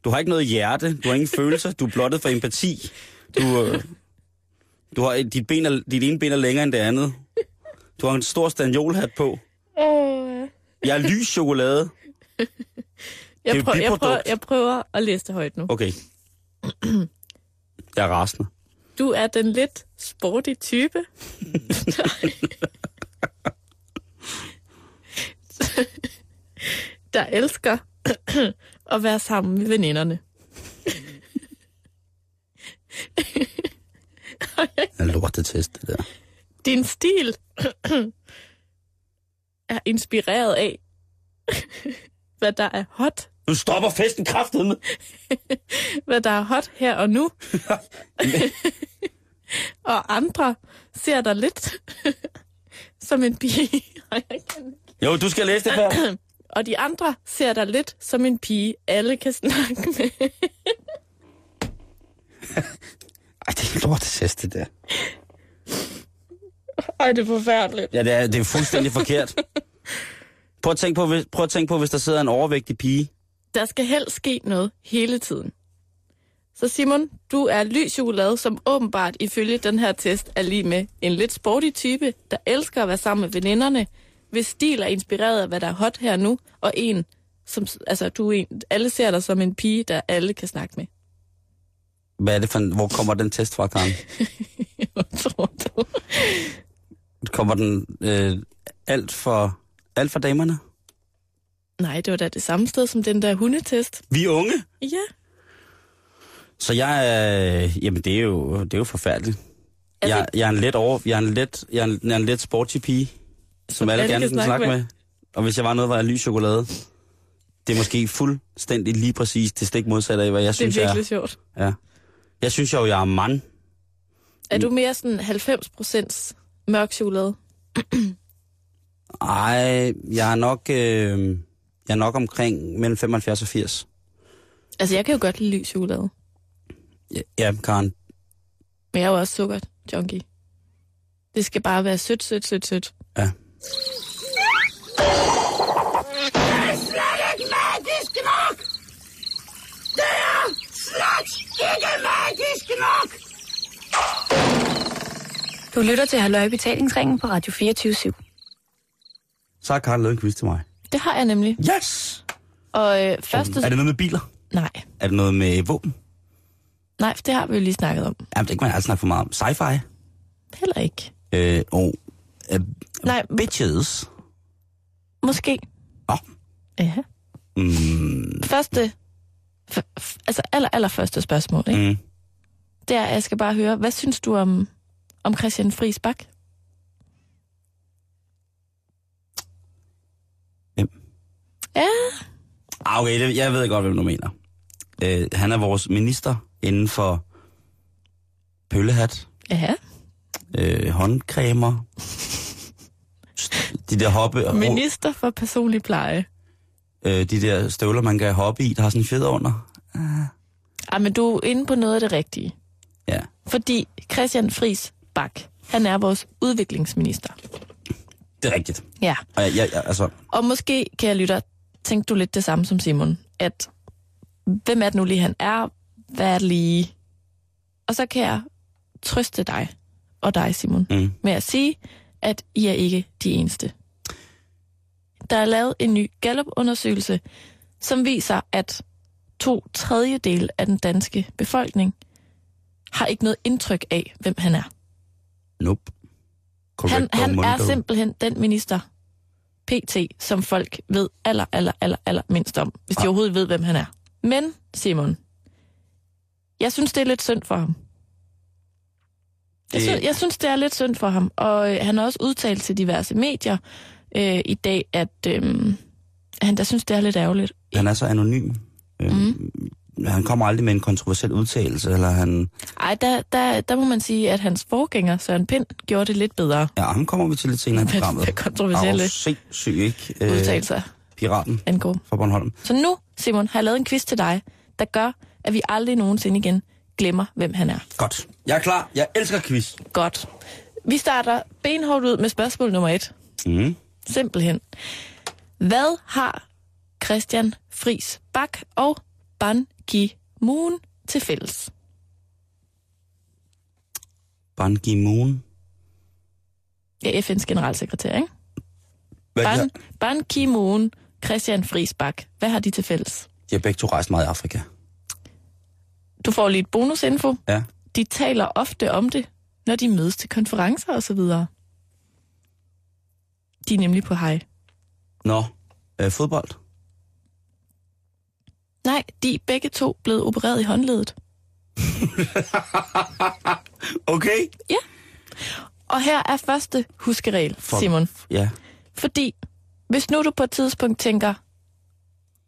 Speaker 4: du har ikke noget hjerte, du har ingen følelser, du er blottet for empati. Du, øh, du har, dit, ben er, dit ene ben er længere end det andet. Du har en stor stanjolhat på. Øh.
Speaker 5: Åh,
Speaker 4: Jeg er lys chokolade. Det er
Speaker 5: Jeg,
Speaker 4: et
Speaker 5: prøver, jeg,
Speaker 4: biprodukt.
Speaker 5: prøver, jeg prøver at læse det højt nu.
Speaker 4: Okay. Jeg er rasende.
Speaker 5: Du er den lidt sporty type. Nej. der elsker at være sammen med veninderne.
Speaker 4: Jeg er lortet test, det der.
Speaker 5: Din stil er inspireret af, hvad der er hot,
Speaker 4: Nu stopper festen kraftedeme.
Speaker 5: hvad der er hot her og nu. og andre ser dig lidt som en pige. Ej, jeg kan ikke.
Speaker 4: Jo, du skal læse det her.
Speaker 5: og de andre ser dig lidt som en pige, alle kan snakke med.
Speaker 4: Ej, det er en lortet test, det der.
Speaker 5: Ej, det er forfærdeligt.
Speaker 4: Ja, det er, det er fuldstændig forkert. Prøv at, tænke på, hvis, prøv at tænke på, hvis der sidder en overvægtig pige.
Speaker 5: Der skal helst ske noget hele tiden. Så Simon, du er lys chokolade, som åbenbart ifølge den her test er lige med en lidt sporty type, der elsker at være sammen med veninderne, hvis stil er inspireret af, hvad der er hot her nu, og en, som, altså du er en, alle ser dig som en pige, der alle kan snakke med.
Speaker 4: Hvad er det for en, hvor kommer den test fra, Karen?
Speaker 5: Hvad tror du?
Speaker 4: Kommer den øh, alt, for, alt for damerne?
Speaker 5: Nej, det var da det samme sted som den der hundetest.
Speaker 4: Vi er unge.
Speaker 5: Ja.
Speaker 4: Så jeg er... Øh, jamen, det er jo, det er jo forfærdeligt.
Speaker 5: Altså-
Speaker 4: Jeg, jeg, er en let over, jeg, er en let, jeg, er en, jeg er en let sporty pige, som, som alle
Speaker 5: alle
Speaker 4: gerne
Speaker 5: kan
Speaker 4: kan snakke,
Speaker 5: snakke
Speaker 4: med. med. Og hvis jeg var noget, var jeg lys chokolade. Det er måske fuldstændig lige præcis det stik modsatte af, hvad jeg
Speaker 5: Det
Speaker 4: synes,
Speaker 5: er
Speaker 4: jeg
Speaker 5: virkelig sjovt.
Speaker 4: er. Ja. Jeg synes jo, jeg er mand.
Speaker 5: Er
Speaker 4: Mm.
Speaker 5: du mere sådan 90% mørk chokolade?
Speaker 4: Ej, jeg er nok, øh, jeg er nok omkring mellem 75 og 80.
Speaker 5: Altså, jeg kan jo godt lide lys chokolade.
Speaker 4: Ja, Karen.
Speaker 5: Men jeg er jo også sukkert, junkie. Det skal bare være sødt, sødt, sødt, sødt.
Speaker 4: Ja.
Speaker 6: Du lytter til Halløj i Betalingsringen på Radio 24 /7.
Speaker 4: Så har Karen lavet en quiz til mig.
Speaker 5: Det har jeg nemlig.
Speaker 4: Yes!
Speaker 5: Og øh, første...
Speaker 4: Er det noget med biler?
Speaker 5: Nej,
Speaker 4: Er det noget med våben?
Speaker 5: nej, for det har vi jo lige snakket om.
Speaker 4: Jamen, det kan man altså snakke for meget om. Sci-fi.
Speaker 5: Heller ikke.
Speaker 4: Øh, og øh,
Speaker 5: Nej,
Speaker 4: bitches.
Speaker 5: måske.
Speaker 4: Nå.
Speaker 5: Ja.
Speaker 4: Mm,
Speaker 5: Første... F- f- altså aller, aller første spørgsmål, ikke?
Speaker 4: mm.
Speaker 5: Det er, jeg skal bare høre, hvad synes du om, om Christian Friis Bak?
Speaker 4: Hvem?
Speaker 5: Ja,
Speaker 4: Ah, okay, det, jeg ved godt, hvem du mener. Øh, han er vores minister inden for pøllehat,
Speaker 5: ja.
Speaker 4: øh, håndcremer, de der hoppe,
Speaker 5: Minister for personlig pleje.
Speaker 4: øh, de der støvler, man kan hoppe i, der har sådan en fjeder under.
Speaker 5: Ej, men du er inde på noget af det rigtige.
Speaker 4: Ja.
Speaker 5: Fordi Christian Friis Bak, han er vores udviklingsminister.
Speaker 4: Det er rigtigt.
Speaker 5: Ja.
Speaker 4: Og jeg, jeg, jeg, altså,
Speaker 5: Og måske, kan jeg lytte, tænkte du lidt det samme som Simon, at hvem er det nu lige, han er? Hvad er det lige? Og så kan jeg trøste dig og dig, Simon,
Speaker 4: Mm.
Speaker 5: med at sige, at I er ikke de eneste. Der er lavet en ny Gallup-undersøgelse, som viser, at to tredjedel af den danske befolkning har ikke noget indtryk af, hvem han er.
Speaker 4: nope.
Speaker 5: Han,
Speaker 4: Correcto
Speaker 5: han er
Speaker 4: mundo.
Speaker 5: simpelthen den minister, PT, som folk ved aller, aller, aller, aller mindst om, hvis
Speaker 4: Ah.
Speaker 5: de overhovedet ved, hvem han er. Men, Simon, jeg synes, det er lidt synd for ham. Jeg
Speaker 4: Det-
Speaker 5: synes, jeg synes det er lidt synd for ham, og øh, han har også udtalt til diverse medier øh, i dag, at øh, han der synes, det er lidt ærgerligt.
Speaker 4: Han er så anonym. Øh, mm. Han kommer aldrig med en kontroversiel udtalelse, eller han...
Speaker 5: Ej, der, der, der må man sige, at hans forgænger, Søren Pind, gjorde det lidt bedre.
Speaker 4: Ja, ham kommer vi til lidt senere i
Speaker 5: Hvad-
Speaker 4: programmet.
Speaker 5: hvad kontroversielle
Speaker 4: Og sindssyg, ikke? Øh,
Speaker 5: Udtalelser
Speaker 4: Piraten
Speaker 5: angår.
Speaker 4: fra Bornholm.
Speaker 5: Så nu, Simon, har jeg lavet en quiz til dig, der gør, at vi aldrig nogensinde igen glemmer, hvem han er.
Speaker 4: Godt. Jeg er klar. Jeg elsker quiz.
Speaker 5: Godt. Vi starter benhårdt ud med spørgsmål nummer et.
Speaker 4: Mm.
Speaker 5: Simpelthen. Hvad har Christian Fris Bak og Ban Ki-moon til fælles?
Speaker 4: Ban Ki-moon.
Speaker 5: Ja, FN's generalsekretær, ikke?
Speaker 4: Hvad er de,
Speaker 5: Ban,
Speaker 4: her?
Speaker 5: Ban Ki-moon, Christian Friis Bak. Hvad har de til fælles?
Speaker 4: de har begge to rejst meget i Afrika.
Speaker 5: Du får lige et bonusinfo.
Speaker 4: Ja.
Speaker 5: De taler ofte om det, når de mødes til konferencer og så videre. De er nemlig på hej.
Speaker 4: Nå, øh, fodbold.
Speaker 5: Nej, de er begge to blevet opereret i håndledet.
Speaker 4: Okay.
Speaker 5: Og her er første huskeregel,
Speaker 4: For-
Speaker 5: Simon.
Speaker 4: Ja.
Speaker 5: Fordi hvis nu du på et tidspunkt tænker,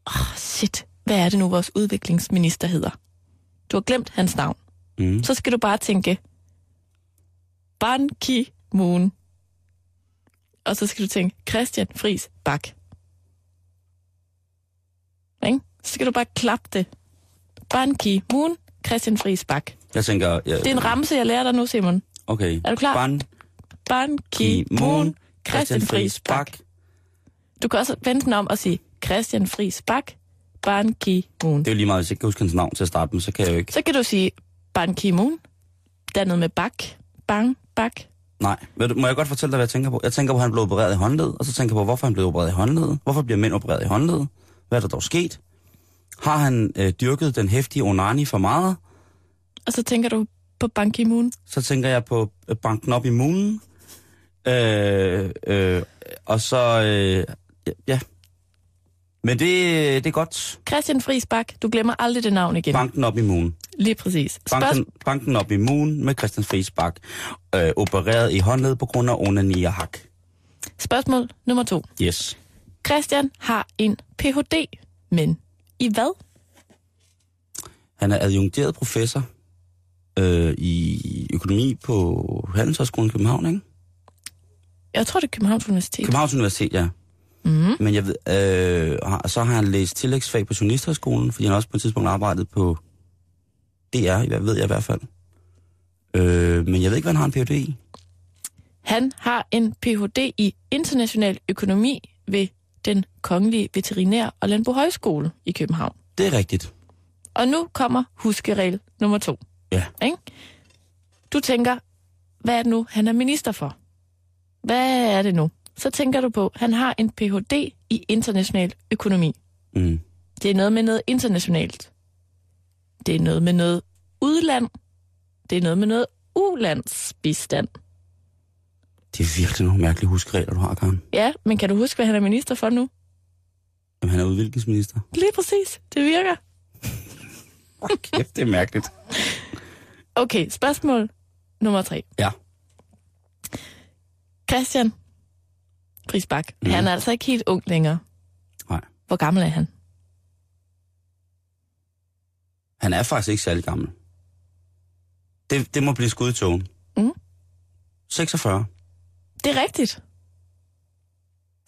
Speaker 5: åh oh, shit, hvad er det nu vores udviklingsminister hedder? Du har glemt hans navn.
Speaker 4: Mm.
Speaker 5: Så skal du bare tænke, Ban Ki-moon. Og så skal du tænke, Christian Friis Bak. Ikke? Så skal du bare klappe det. Ban Ki-moon, Christian Friis Bak.
Speaker 4: Jeg tænker... Jeg,
Speaker 5: Det er en ramse, jeg lærer dig nu, Simon.
Speaker 4: Okay.
Speaker 5: Er du klar?
Speaker 4: Ban
Speaker 5: Ban Ki-moon,
Speaker 4: Ki-moon,
Speaker 5: Christian Friis Bak. Du kan også vende den om og sige Christian Friis Bak, Ban Ki-moon.
Speaker 4: Det er jo lige meget, hvis jeg ikke kan huske hans navn til at starte med, så kan jeg jo ikke...
Speaker 5: Så kan du sige Ban Ki-moon. Der er noget med bak. Bang, bak.
Speaker 4: Nej. Ved du, må jeg godt fortælle dig, hvad jeg tænker på? Jeg tænker på, at han blev opereret i håndled, og så tænker jeg på, hvorfor han blev opereret i håndled. Hvorfor bliver mænd opereret i håndled? Hvad er der dog sket? Har han øh, dyrket den hæftige onani for meget?
Speaker 5: Og så tænker du på Ban Ki-moon.
Speaker 4: Så tænker jeg på øh, banken op i munen. Øh, øh, og så... Øh, ja, ja. Men det, det er godt.
Speaker 5: Christian Friis Bak, du glemmer aldrig det navn igen.
Speaker 4: Banken op i munen.
Speaker 5: Lige præcis. Spørgsmål.
Speaker 4: Banken, banken op i munen med Christian Friisbak. Øh, opereret i håndled på grund af onani og hak.
Speaker 5: Spørgsmål nummer to.
Speaker 4: Yes.
Speaker 5: Christian har en Ph.D., men i hvad?
Speaker 4: Han er adjungeret professor øh, i økonomi på Handelshøjskolen i København, ikke?
Speaker 5: Jeg tror, det er Københavns Universitet.
Speaker 4: Københavns Universitet, ja.
Speaker 5: Mm-hmm.
Speaker 4: Men jeg ved, øh, har- så har han læst tillægsfag på Journalisthøjskolen, fordi han også på et tidspunkt arbejdede på DR, ved jeg i hvert fald. Øh, men jeg ved ikke, hvad han har en Ph.D. i.
Speaker 5: Han har en Ph.D. i international økonomi ved den kongelige veterinær- og landbohøjskole i København.
Speaker 4: Det er rigtigt.
Speaker 5: Og nu kommer huskeregel nummer to.
Speaker 4: Ja.
Speaker 5: Ikke? Du tænker, hvad er det nu, han er minister for? Hvad er det nu? Så tænker du på, han har en Ph.D. i international økonomi.
Speaker 4: Mm.
Speaker 5: Det er noget med noget internationalt. Det er noget med noget udland. Det er noget med noget ulandsbistand.
Speaker 4: Det er virkelig nogle mærkelige huskeregler, du har, Karen.
Speaker 5: Ja, men kan du huske, hvad han er minister for nu?
Speaker 4: Jamen, han er udviklingsminister.
Speaker 5: Lige præcis. Det virker.
Speaker 4: Oh, kæft, det er mærkeligt.
Speaker 5: Okay, spørgsmål nummer tre.
Speaker 4: Ja.
Speaker 5: Christian Grisbak, mm. han er altså ikke helt ung længere.
Speaker 4: Nej.
Speaker 5: Hvor gammel er han?
Speaker 4: Han er faktisk ikke særlig gammel. Det, det må blive skud i togen.
Speaker 5: Mm.
Speaker 4: 46.
Speaker 5: Det er rigtigt.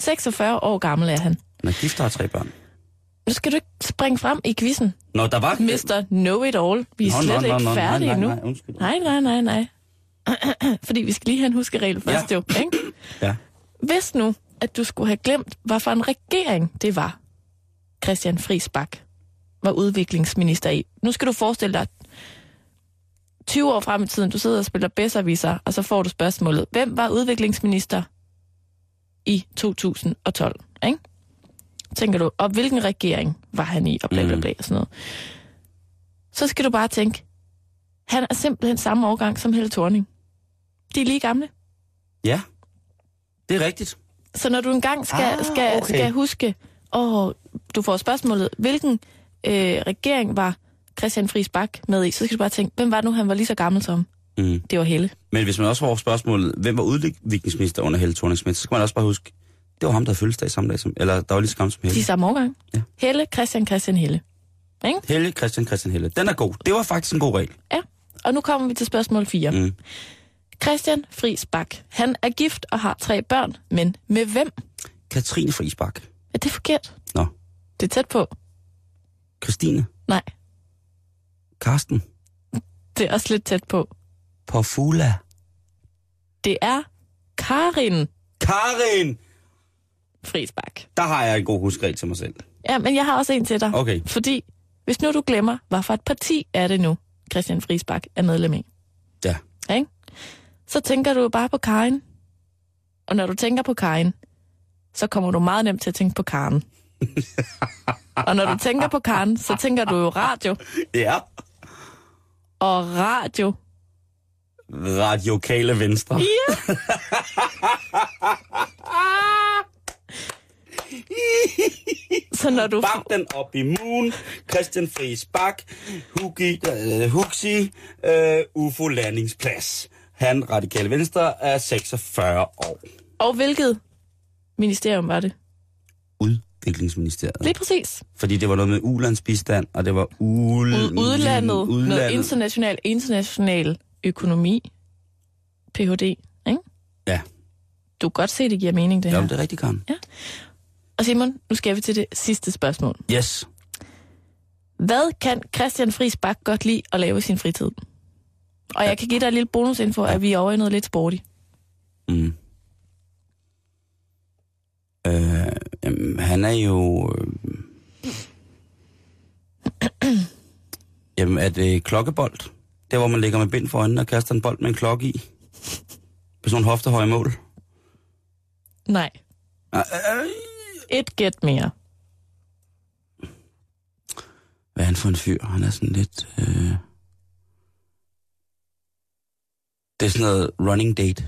Speaker 5: 46 år gammel er han.
Speaker 4: Han er gift og har tre børn.
Speaker 5: Nu skal du ikke springe frem i quizzen,
Speaker 4: Nå, der var...
Speaker 5: Mr. Know-it-all. Vi er
Speaker 4: Nå, nå,
Speaker 5: slet
Speaker 4: nå,
Speaker 5: ikke
Speaker 4: nå, nej,
Speaker 5: færdige
Speaker 4: nej,
Speaker 5: endnu.
Speaker 4: nej, undskyld.
Speaker 5: Nej, nej, nej, nej. Fordi vi skal lige have en huskeregel først,
Speaker 4: Ja.
Speaker 5: jo. Ikke?
Speaker 4: Ja.
Speaker 5: Hvis nu, at du skulle have glemt, hvad for en regering det var, Christian Friis Bak var udviklingsminister i. Nu skal du forestille dig, 20 år frem i tiden, du sidder og spiller bedserviser, og så får du spørgsmålet, hvem var udviklingsminister i 2012? Ikke? Tænker du, og hvilken regering var han i, og bla bla
Speaker 4: Mm.
Speaker 5: bla, og sådan noget. Så skal du bare tænke, han er simpelthen samme årgang som Helle Thorning. De er lige gamle.
Speaker 4: Ja, det er rigtigt.
Speaker 5: Så når du engang skal,
Speaker 4: Ah,
Speaker 5: ah, skal,
Speaker 4: okay.
Speaker 5: okay. skal huske, og du får spørgsmålet, hvilken øh, regering var Christian Friis Bak med i, så skal du bare tænke, hvem var det nu, han var lige så gammel som?
Speaker 4: Mm.
Speaker 5: Det var Helle.
Speaker 4: Men hvis man også får spørgsmålet, hvem var udviklingsminister under Helle thorning så skal man også bare huske, det var ham, der havde fødselsdag samme dag som, eller der var lige så gammel som Helle.
Speaker 5: De er samme årgang.
Speaker 4: Mm. Ja.
Speaker 5: Helle, Christian, Christian, Helle.
Speaker 4: Helle, Christian, Christian Helle. Den er god. Det var faktisk en god regel.
Speaker 5: Og nu kommer vi til spørgsmål 4.
Speaker 4: Mm.
Speaker 5: Christian Friis Bak. Han er gift og har tre børn, men med hvem?
Speaker 4: Katrine Friisbak.
Speaker 5: Er det forkert?
Speaker 4: Nå.
Speaker 5: Det er tæt på.
Speaker 4: Christine.
Speaker 5: Nej,
Speaker 4: Karsten.
Speaker 5: det er også lidt tæt på.
Speaker 4: Pofula.
Speaker 5: Det er Karin
Speaker 4: Karin!
Speaker 5: Friis Bak.
Speaker 4: Der har jeg en god huskeregel til mig selv.
Speaker 5: Ja, men jeg har også en til dig.
Speaker 4: Okay.
Speaker 5: Fordi, hvis nu du glemmer, hvad for et parti er det nu, Christian Friisbak er medlem i,
Speaker 4: Ja.
Speaker 5: så tænker du jo bare på Karin. Og når du tænker på Karin, så kommer du meget nemt til at tænke på Karen. og når du tænker på Karen, så tænker du jo radio.
Speaker 4: Ja.
Speaker 5: Og radio.
Speaker 4: Radiokale Venstre.
Speaker 5: Så når du...
Speaker 4: Bak den op i moon. Christian Friis Bak. Hugi, øh, Huxi. Øh, UFO Landingsplads. Han, radikale venstre, er 46 år.
Speaker 5: Og hvilket ministerium var det?
Speaker 4: Udviklingsministeriet.
Speaker 5: Lige præcis.
Speaker 4: Fordi det var noget med ulandsbistand, og det var ul...
Speaker 5: Ud, udlandet, udlandet. Noget
Speaker 4: udlandet.
Speaker 5: international, international økonomi. Ph.D. Ikke?
Speaker 4: Ja.
Speaker 5: Du kan godt se, det giver mening, det her.
Speaker 4: Jamen, det er rigtigt, Karen.
Speaker 5: Og Simon, nu skal vi til det sidste spørgsmål.
Speaker 4: Yes.
Speaker 5: Hvad kan Christian Friis Bak godt lide at lave i sin fritid? Og jeg kan give dig en lille bonusinfo, at vi er over i noget lidt sporty.
Speaker 4: Mm. Øh, jamen, han er jo... Øh... jamen, er det klokkebold? Der, hvor man ligger med bind for øjnene og kaster en bold med en klokke i. På sådan en hoftehøj mål.
Speaker 5: Nej,
Speaker 4: Øh, øh,
Speaker 5: et gæt mere.
Speaker 4: Hvad er han for en fyr? Han er sådan lidt... Øh... Det er sådan noget running date.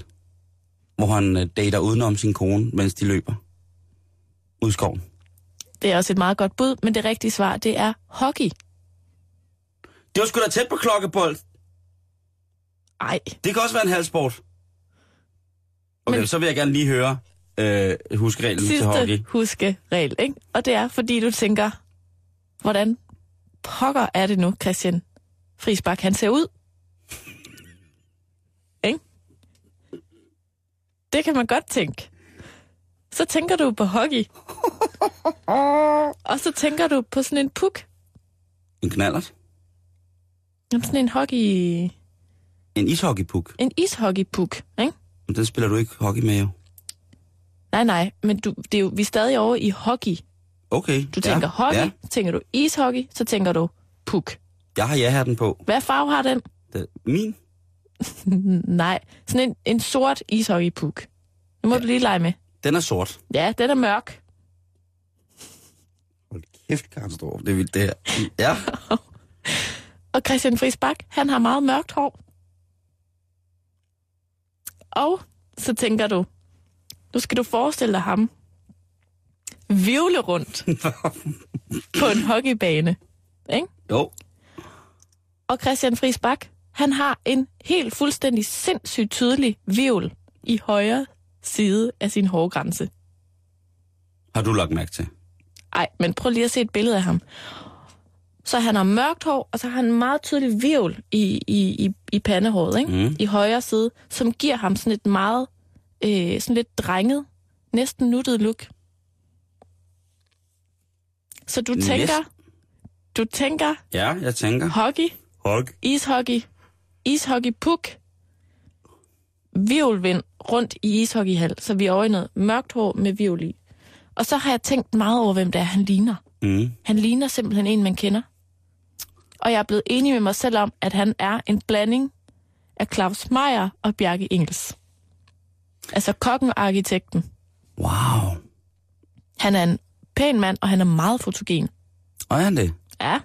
Speaker 4: Hvor han øh, dater udenom sin kone, mens de løber. Ud i skoven.
Speaker 5: Det er også et meget godt bud, men det rigtige svar, det er hockey.
Speaker 4: Det var sgu da tæt på klokkebold.
Speaker 5: Ej,
Speaker 4: Det kan også være en halvsport. Okay,
Speaker 5: Men-
Speaker 4: så vil jeg gerne lige høre øh, huskreglen til hockey.
Speaker 5: sidste huskeregel, ikke? Og det er, fordi du tænker, hvordan pokker er det nu, Christian Friis Bak, han ser ud? Ikke? Det kan man godt tænke. Så tænker du på hockey. Og så tænker du på sådan en puk.
Speaker 4: En knallert?
Speaker 5: Jamen sådan en hockey...
Speaker 4: En ishockeypuk.
Speaker 5: En ishockeypuk, ikke?
Speaker 4: Men den spiller du ikke hockey med, jo.
Speaker 5: Nej, nej, men du, det er jo, vi er stadig over i hockey.
Speaker 4: Okay.
Speaker 5: Du tænker
Speaker 4: ja,
Speaker 5: hockey,
Speaker 4: Ja.
Speaker 5: så tænker du ishockey, så tænker du puk.
Speaker 4: Jeg har ja-hatten på.
Speaker 5: Hvad farve har den?
Speaker 4: Det, min?
Speaker 5: nej, sådan en, en sort ishockeypuk. Nu må ja. du lige lege med.
Speaker 4: Den er sort.
Speaker 5: Ja, den er mørk.
Speaker 4: Hold kæft, Karen Storff, Det er vildt, det her. Ja.
Speaker 5: Og Christian Friis Bak, han har meget mørkt hår. Og så tænker du, nu skal du forestille dig ham vivle rundt på en hockeybane. Ikke?
Speaker 4: Jo.
Speaker 5: Og Christian Friis Bak, han har en helt fuldstændig sindssygt tydelig vivl i højre side af sin hårgrænse.
Speaker 4: Har du lagt mærke til?
Speaker 5: Ej, men prøv lige at se et billede af ham. Så han har mørkt hår, og så har han en meget tydelig virvel i, i, i, i pandehåret, ikke?
Speaker 4: Mm.
Speaker 5: i højre side, som giver ham sådan et meget, øh, sådan lidt drenget, næsten nuttet look. Så du
Speaker 4: Næsten.
Speaker 5: tænker, du tænker
Speaker 4: Ja, jeg tænker.
Speaker 5: hockey,
Speaker 4: Hockey.
Speaker 5: ishockey, ishockey-puk, virvelvind rundt i ishockeyhal, så vi er over i noget mørkt hår med virvel i. Og så har jeg tænkt meget over, hvem det er, han ligner.
Speaker 4: Mm.
Speaker 5: Han ligner simpelthen en, man kender. Og jeg er blevet enig med mig selv om, at han er en blanding af Claus Meier og Bjarke Ingels. Altså kokken og arkitekten.
Speaker 4: Wow.
Speaker 5: Han er en pæn mand, og han er meget fotogen.
Speaker 4: Og er han det?
Speaker 5: Ja,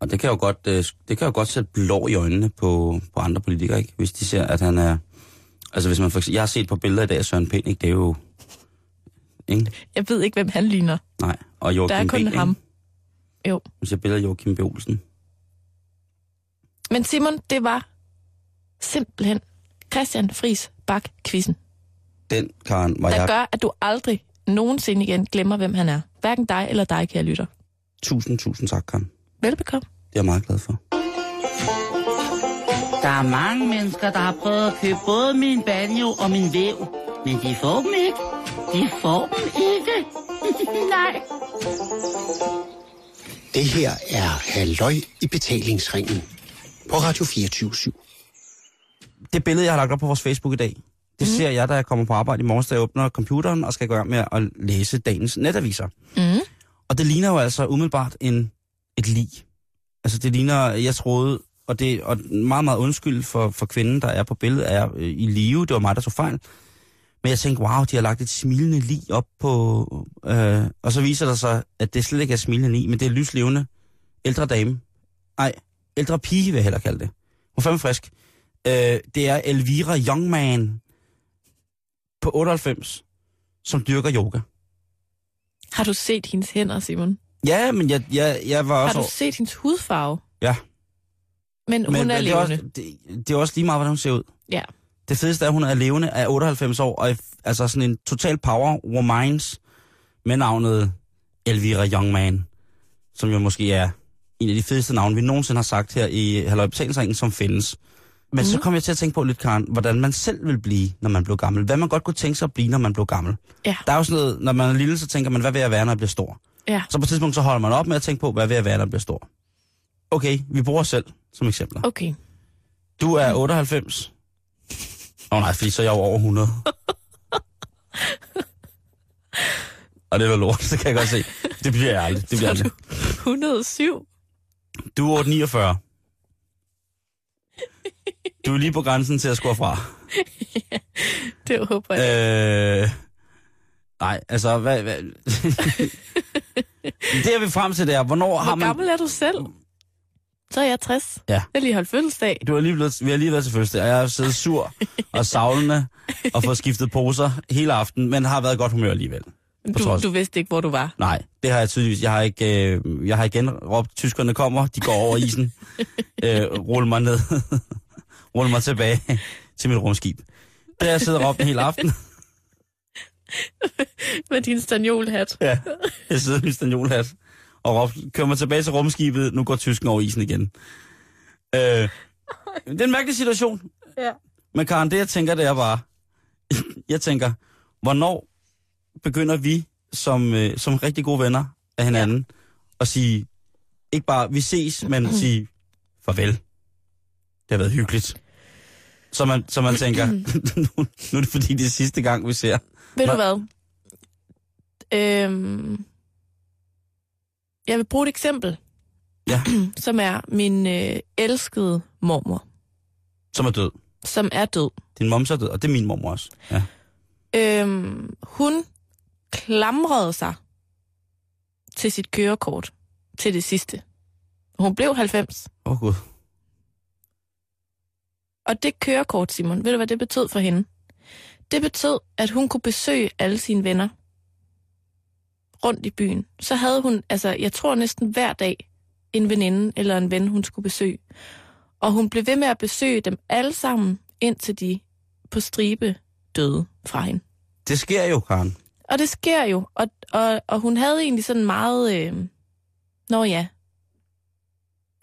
Speaker 4: Og det kan jo godt, øh, det kan jo godt sætte blå i øjnene på, på andre politikere, ikke? Hvis de ser, at han er... Altså hvis man for eksempel, Jeg har set på billeder i dag af Søren Pind, ikke? Det er jo... Ikke?
Speaker 5: jeg ved ikke, hvem han ligner.
Speaker 4: Nej. Og
Speaker 5: Der
Speaker 4: Joachim
Speaker 5: er kun
Speaker 4: B,
Speaker 5: ham.
Speaker 4: Ikke?
Speaker 5: Jo.
Speaker 4: Hvis jeg billeder af Joachim B. Olsen.
Speaker 5: Men Simon, det var simpelthen Christian Friis bak quizzen
Speaker 4: Den, Karen, var
Speaker 5: der
Speaker 4: jeg...
Speaker 5: gør, at du aldrig nogensinde igen glemmer, hvem han er. Hverken dig eller dig, kære lytter.
Speaker 4: Tusind, tusind tak, Karen. Det
Speaker 5: Velbekomme.
Speaker 4: er jeg meget glad for.
Speaker 7: Der er mange mennesker, der har prøvet at købe både min banjo og min væv. Men de får dem ikke. De får dem ikke. Nej.
Speaker 8: Det her er Halløj i betalingsringen på Radio 24
Speaker 4: Det billede, jeg har lagt op på vores Facebook i dag, det
Speaker 5: Mhm.
Speaker 4: mm. ser jeg, da jeg kommer på arbejde i morges, da jeg åbner computeren og skal gå i gang med at læse dagens netaviser.
Speaker 5: Mm.
Speaker 4: Og det ligner jo altså umiddelbart en, et lig. Altså det ligner, jeg troede, og det og meget, meget undskyld for, for kvinden, der er på billedet, er øh, i live. Det var mig, der tog fejl. Men jeg tænkte, wow, de har lagt et smilende lig op på... Øh, og så viser der sig, at det slet ikke er smilende lig, men det er lyslevende ældre dame. Nej, ældre pige vil jeg hellere kalde det. Hun er fandme frisk. Øh, det er Elvira Youngman på 98, som dyrker yoga.
Speaker 5: Har du set hendes hænder, Simon?
Speaker 4: Ja, men jeg, jeg, jeg var også...
Speaker 5: Har du set hendes hudfarve?
Speaker 4: Ja.
Speaker 5: Men hun men, er
Speaker 4: det er,
Speaker 5: levende.
Speaker 4: også,
Speaker 5: Også...
Speaker 4: det, det er også lige meget, hvordan hun ser ud.
Speaker 5: Ja.
Speaker 4: Det fedeste er, at hun er levende af 98 år, og er f- altså sådan en total power womans med navnet Elvira Youngman, som jo måske er en af de fedeste navne, vi nogensinde har sagt her i Halløj Betalingsringen, som findes. Men mm-hmm. så
Speaker 5: Mhm.
Speaker 4: kom jeg til at tænke på lidt, Karen, hvordan man selv vil blive, når man blev gammel. Hvad man godt kunne tænke sig at blive, når man blev gammel.
Speaker 5: Ja.
Speaker 4: Der er jo sådan noget, når man er lille, så tænker man, hvad vil jeg være, når jeg bliver stor?
Speaker 5: Ja.
Speaker 4: Så på et tidspunkt, så holder man op med at tænke på, hvad vil jeg være, når jeg bliver stor? Okay, vi bruger os selv som eksempler.
Speaker 5: Okay.
Speaker 4: Du er 98. Åh oh, nej, fordi så er jeg jo over 100. Og det var lort, det kan jeg godt se. Det bliver jeg aldrig. Det bliver jeg
Speaker 5: Så er
Speaker 4: aldrig.
Speaker 5: du 107.
Speaker 4: Du er 849. Du er lige på grænsen til at score fra.
Speaker 5: Det håber jeg.
Speaker 4: Øh, nej, altså, hvad, hvad? det jeg vil frem til, det er, hvornår har
Speaker 5: Hvor
Speaker 4: man...
Speaker 5: gammel er du selv? Så er jeg 60.
Speaker 4: Ja.
Speaker 5: Jeg har lige holdt fødselsdag.
Speaker 4: Du er lige blevet, vi har lige været til fødselsdag, og jeg har siddet sur og savlende og fået skiftet poser hele aftenen, men har været i godt humør alligevel. På
Speaker 5: Du,
Speaker 4: trods.
Speaker 5: du vidste ikke, hvor du var.
Speaker 4: Nej, det har jeg tydeligvis. Jeg har, ikke, øh, jeg har igen råbt, tyskerne kommer, de går over isen. øh, rul mig ned. rul mig tilbage til mit rumskib. Der har jeg siddet og råbt en hel aften.
Speaker 5: Med din stagnolhat.
Speaker 4: ja. Jeg sidder i min stanjolhat og råbt, kør mig tilbage til rumskibet, nu går tysken over isen igen. Øh, det er en mærkelig situation.
Speaker 5: Ja.
Speaker 4: Men Karen, det jeg tænker, det er bare, jeg tænker, hvornår begynder vi som, øh, som rigtig gode venner af hinanden ja. at sige, ikke bare vi ses, men sige farvel. har været hyggeligt. Så man, så man tænker, nu, nu er det fordi, det er sidste gang, vi ser.
Speaker 5: Ved du
Speaker 4: Nå.
Speaker 5: hvad? Øhm, jeg vil bruge et eksempel,
Speaker 4: Ja.
Speaker 5: som er min øh, elskede mormor,
Speaker 4: Som er død.
Speaker 5: som er død.
Speaker 4: Din moms er død, og det er min mormor også. Ja.
Speaker 5: Øhm, hun klamrede sig til sit kørekort til det sidste. Hun blev 90.
Speaker 4: Åh oh, gud.
Speaker 5: Og det kørekort, Simon, ved du, hvad det betød for hende? Det betød, at hun kunne besøge alle sine venner rundt i byen. Så havde hun, altså jeg tror næsten hver dag, en veninde eller en ven, hun skulle besøge. Og hun blev ved med at besøge dem alle sammen, indtil de på stribe døde fra hende.
Speaker 4: Det sker jo, Karen.
Speaker 5: Og det sker jo. Og, og, og hun havde egentlig sådan meget... Øh... Nå ja,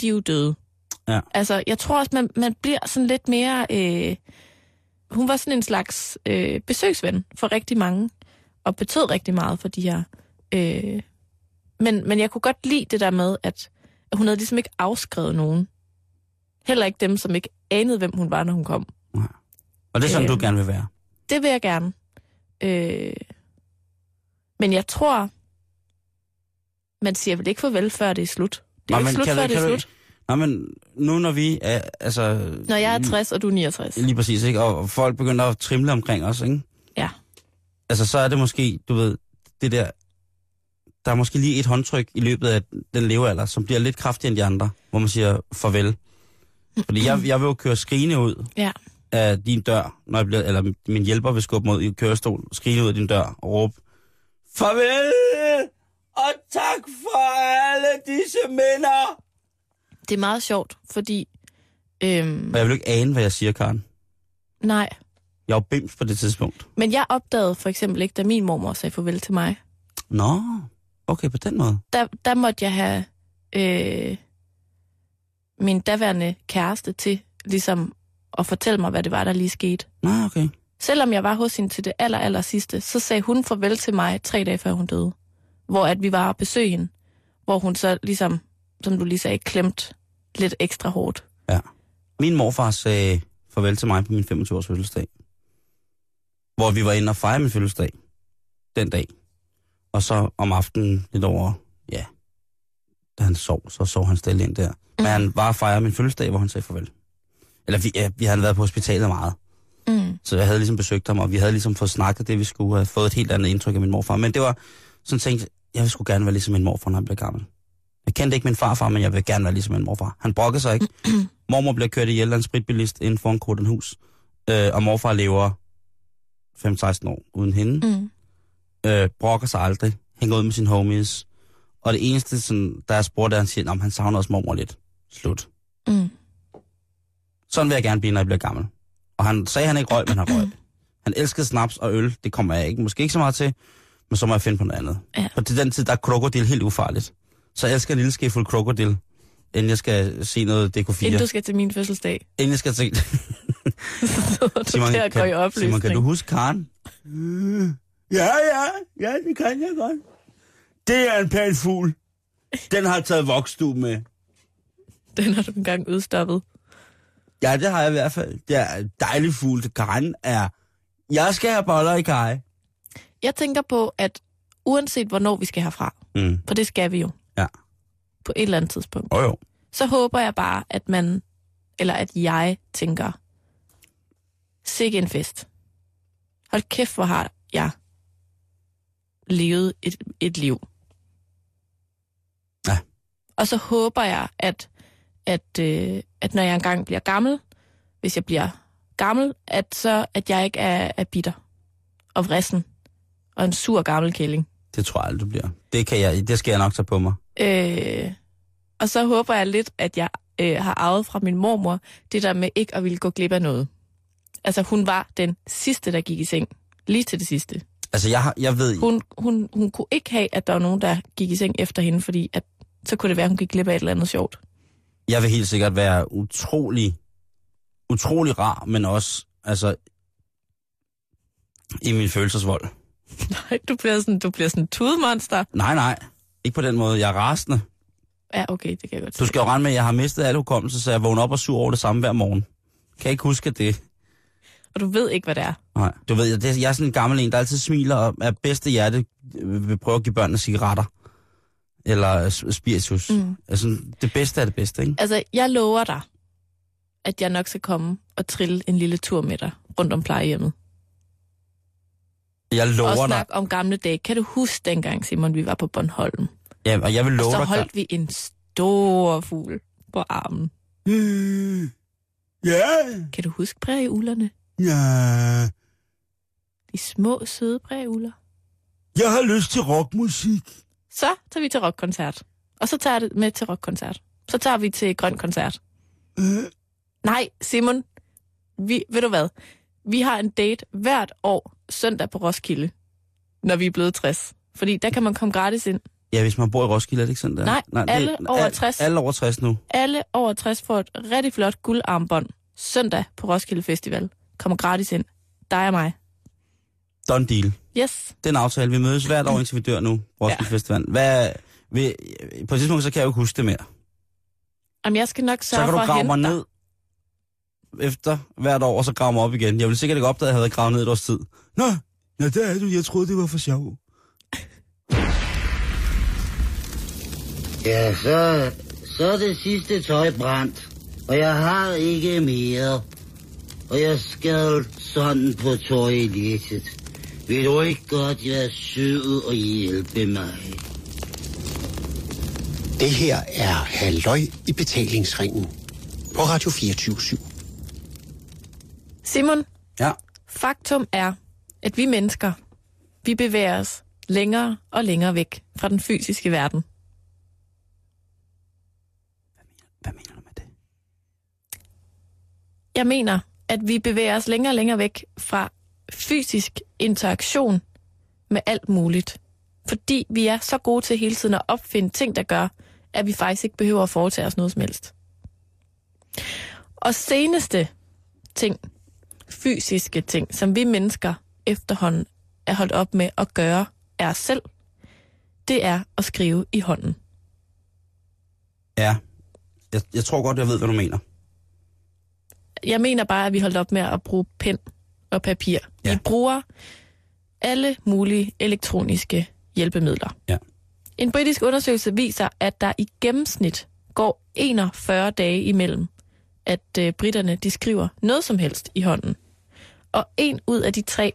Speaker 5: de er jo døde.
Speaker 4: Ja.
Speaker 5: Altså, jeg tror også, man, man bliver sådan lidt mere... Øh... Hun var sådan en slags øh, besøgsven for rigtig mange, og betød rigtig meget for de her... Øh... Men, men jeg kunne godt lide det der med, at at hun havde ligesom ikke afskrevet nogen. Heller ikke dem, som ikke anede, hvem hun var, når hun kom.
Speaker 4: Og det er sådan, du
Speaker 5: Øh.
Speaker 4: gerne vil være.
Speaker 5: Det vil jeg gerne. Øh, men jeg tror, man siger vel ikke farvel, før det er slut. Det er
Speaker 4: Nej,
Speaker 5: jo
Speaker 4: men
Speaker 5: ikke slut,
Speaker 4: kan du-
Speaker 5: før det er
Speaker 4: kan du-
Speaker 5: slut.
Speaker 4: Nå, men nu når vi er, altså...
Speaker 5: Når jeg er 60, og du er 69.
Speaker 4: Lige præcis, ikke? Og folk begynder at trimle omkring os, ikke?
Speaker 5: Ja.
Speaker 4: Altså, så er det måske, du ved, det der... Der er måske lige et håndtryk i løbet af den levealder, som bliver lidt kraftigere end de andre, hvor man siger farvel. Fordi jeg, jeg vil jo køre skrigende ud
Speaker 5: Ja.
Speaker 4: af din dør, når jeg bliver, eller min hjælper vil skubbe mod i kørestol, skrige ud af din dør og råbe, Farvel! Og tak for alle disse minder!
Speaker 5: Det er meget sjovt, fordi... Øhm,
Speaker 4: Og jeg vil jo ikke ane, hvad jeg siger, Karen.
Speaker 5: nej,
Speaker 4: Jeg er jo bims på det tidspunkt.
Speaker 5: men jeg opdagede for eksempel ikke, da min mormor sagde farvel til mig.
Speaker 4: Nå, okay, på den måde.
Speaker 5: Der, der måtte jeg have øh, min daværende kæreste til ligesom at fortælle mig, hvad det var, der lige skete.
Speaker 4: Nå, okay.
Speaker 5: Selvom jeg var hos hende til det aller, aller sidste, så sagde hun farvel til mig tre dage før hun døde. Hvor at vi var at besøge hende. Hvor hun så ligesom, som du lige sagde, klemt lidt ekstra hårdt.
Speaker 4: Min morfar sagde farvel til mig på min 25-års fødselsdag. Hvor vi var inde og fejre min fødselsdag den dag. Og så om aftenen lidt over, ja, da han sov, så sov han stille ind der. Men han var og fejre min fødselsdag, hvor han sagde farvel. Eller vi, ja, vi havde været på hospitalet meget.
Speaker 5: Mm.
Speaker 4: Så jeg havde ligesom besøgt ham, og vi havde ligesom fået snakket det, vi skulle have fået et helt andet indtryk af min morfar. Men det var sådan tænkt, jeg skulle gerne være ligesom min morfar, når han blev gammel. Jeg kendte ikke min farfar, men jeg vil gerne være ligesom min morfar. Han brokkede sig ikke. Mormor bliver kørt ihjel af en spritbilist inden for en kortenhus. Øh, og morfar lever 5-16 år uden hende.
Speaker 5: Mm.
Speaker 4: Øh, brokker sig aldrig. Hænger ud med sine homies. Og det eneste, sådan, der er spurgt, er, at han siger, om han savner også mormor lidt. Slut.
Speaker 5: Mm.
Speaker 4: Sådan vil jeg gerne blive, når jeg bliver gammel. Og han sagde, at han ikke røg, men han røg. Han elskede snaps og øl. Det kommer jeg ikke, måske ikke så meget til. Men så må jeg finde på noget andet.
Speaker 5: Ja.
Speaker 4: Og til den tid, der er krokodil helt ufarligt. Så jeg elsker en lille skefuld krokodil, inden jeg skal se noget DK4.
Speaker 5: Inden du skal til min fødselsdag,
Speaker 4: Inden jeg skal se...
Speaker 5: så er du Simon,
Speaker 4: Simon,
Speaker 5: til at gå i
Speaker 4: kan,
Speaker 5: opløsning.
Speaker 4: Simon, kan du huske Karen? Øh, Ja, ja, ja, det kan jeg godt. Det er en pæn fugl. Den har taget voksdu med.
Speaker 5: Den har du engang udstoppet.
Speaker 4: Ja, det har jeg i hvert fald. Det er en dejlig fugl. Karen er... Jeg skal have boller i kaj.
Speaker 5: Jeg tænker på, at uanset hvornår vi skal herfra,
Speaker 4: Mm.
Speaker 5: for det skal vi jo,
Speaker 4: Ja.
Speaker 5: på et eller andet tidspunkt,
Speaker 4: Oh, jo.
Speaker 5: så håber jeg bare, at man, eller at jeg tænker, sikke en fest. Hold kæft, hvor har jeg levet et, et liv.
Speaker 4: Ja.
Speaker 5: Og så håber jeg, at, at, øh, at når jeg engang bliver gammel, hvis jeg bliver gammel, at, så, at jeg ikke er, er bitter og vrissen og en sur gammel kælling.
Speaker 4: Det tror jeg aldrig, du bliver. Det, kan jeg, det skal jeg nok tage på mig.
Speaker 5: Øh, og så håber jeg lidt, at jeg øh, har arvet fra min mormor det der med ikke at ville gå glip af noget. Altså hun var den sidste, der gik i seng. Lige til det sidste.
Speaker 4: Altså, jeg, har- jeg ved...
Speaker 5: Hun, hun, hun kunne ikke have, at der var nogen, der gik i seng efter hende, fordi at, så kunne det være, at hun gik glip af et eller andet sjovt.
Speaker 4: jeg vil helt sikkert være utrolig, utrolig rar, men også altså, i min følelsesvold.
Speaker 5: Nej, du bliver sådan, du bliver sådan en tudemonster.
Speaker 4: Nej, nej. Ikke på den måde. Jeg er rasende.
Speaker 5: Ja, okay, det kan jeg godt se.
Speaker 4: Du skal jo regne med, at jeg har mistet al hukommelse, så jeg vågner op og sur over det samme hver morgen. Kan jeg ikke huske det?
Speaker 5: Og du ved ikke, hvad det er.
Speaker 4: Nej. Du ved, jeg, det- jeg er sådan en gammel en, der altid smiler og af bedste hjerte øh, vil prøve at give børnene cigaretter. Eller øh, s- spiritus. Mm. Altså, det bedste er det bedste, ikke?
Speaker 5: Altså, jeg lover dig, at jeg nok skal komme og trille en lille tur med dig rundt om plejehjemmet.
Speaker 4: Jeg
Speaker 5: og
Speaker 4: lover dig.
Speaker 5: snakke om gamle dage. Kan du huske dengang, Simon, vi var på Bornholm?
Speaker 4: Ja, og jeg vil
Speaker 5: Og
Speaker 4: love
Speaker 5: så
Speaker 4: dig.
Speaker 5: holdt vi en stor fugl på armen.
Speaker 4: Hmm. Ja,
Speaker 5: Kan du huske prægeulerne?
Speaker 4: ja.
Speaker 5: De små, søde prægeuler.
Speaker 4: Jeg har lyst til rockmusik.
Speaker 5: Så tager vi til rockkoncert. Og så tager jeg det med til rockkoncert. Så tager vi til grøn koncert. Nej, Simon. Vi, ved du hvad? Vi har en date hvert år søndag på Roskilde, når vi er blevet 60. Fordi der kan man komme gratis ind.
Speaker 4: Ja, hvis man bor i Roskilde, er det ikke sådan der?
Speaker 5: Nej, alle over
Speaker 4: al-
Speaker 5: 60.
Speaker 4: Alle over 60 nu.
Speaker 5: Alle over 60 får et rigtig flot guldarmbånd søndag på Roskilde Festival. Kommer gratis ind. Dig og mig.
Speaker 4: Done deal.
Speaker 5: Yes.
Speaker 4: den aftale. Vi mødes hvert år, indtil vi dør nu. Roskilde ja. Festival. Hvad, vi, på et tidspunkt, så kan jeg jo ikke huske det mere.
Speaker 5: Jamen, jeg skal nok
Speaker 4: Så
Speaker 5: sørge
Speaker 4: kan
Speaker 5: for
Speaker 4: du
Speaker 5: at
Speaker 4: grave
Speaker 5: hente
Speaker 4: mig
Speaker 5: dig.
Speaker 4: ned efter hvert år, og så grave mig op igen. Jeg ville sikkert ikke opdage, at jeg havde gravet ned et års tid. Nå, nå der er du. Jeg troede, det var for sjov.
Speaker 7: Ja, så, så er det sidste tøj brændt, og jeg har ikke mere. Og jeg skal sådan på toilettet. Vil du ikke godt være sød og hjælpe mig?
Speaker 8: Det her er Halløj i betalingsringen på Radio 24
Speaker 5: Simon,
Speaker 4: Ja,
Speaker 5: faktum er, at vi mennesker, vi bevæger os længere og længere væk fra den fysiske verden.
Speaker 4: hvad mener du med det?
Speaker 5: Jeg mener, at vi bevæger os længere og længere væk fra fysisk interaktion med alt muligt. Fordi vi er så gode til hele tiden at opfinde ting, der gør, at vi faktisk ikke behøver at foretage os noget som helst. Og seneste ting, fysiske ting, som vi mennesker efterhånden er holdt op med at gøre af os selv, det er at skrive i hånden.
Speaker 4: Ja, jeg, jeg tror godt, jeg ved, hvad du mener.
Speaker 5: jeg mener bare, at vi holdt op med at bruge pen og papir. Ja.
Speaker 4: Ja.
Speaker 5: Vi bruger alle mulige elektroniske hjælpemidler.
Speaker 4: Ja.
Speaker 5: En britisk undersøgelse viser, at der i gennemsnit går 41 dage imellem, at øh, britterne de skriver noget som helst i hånden. Og en ud af de tre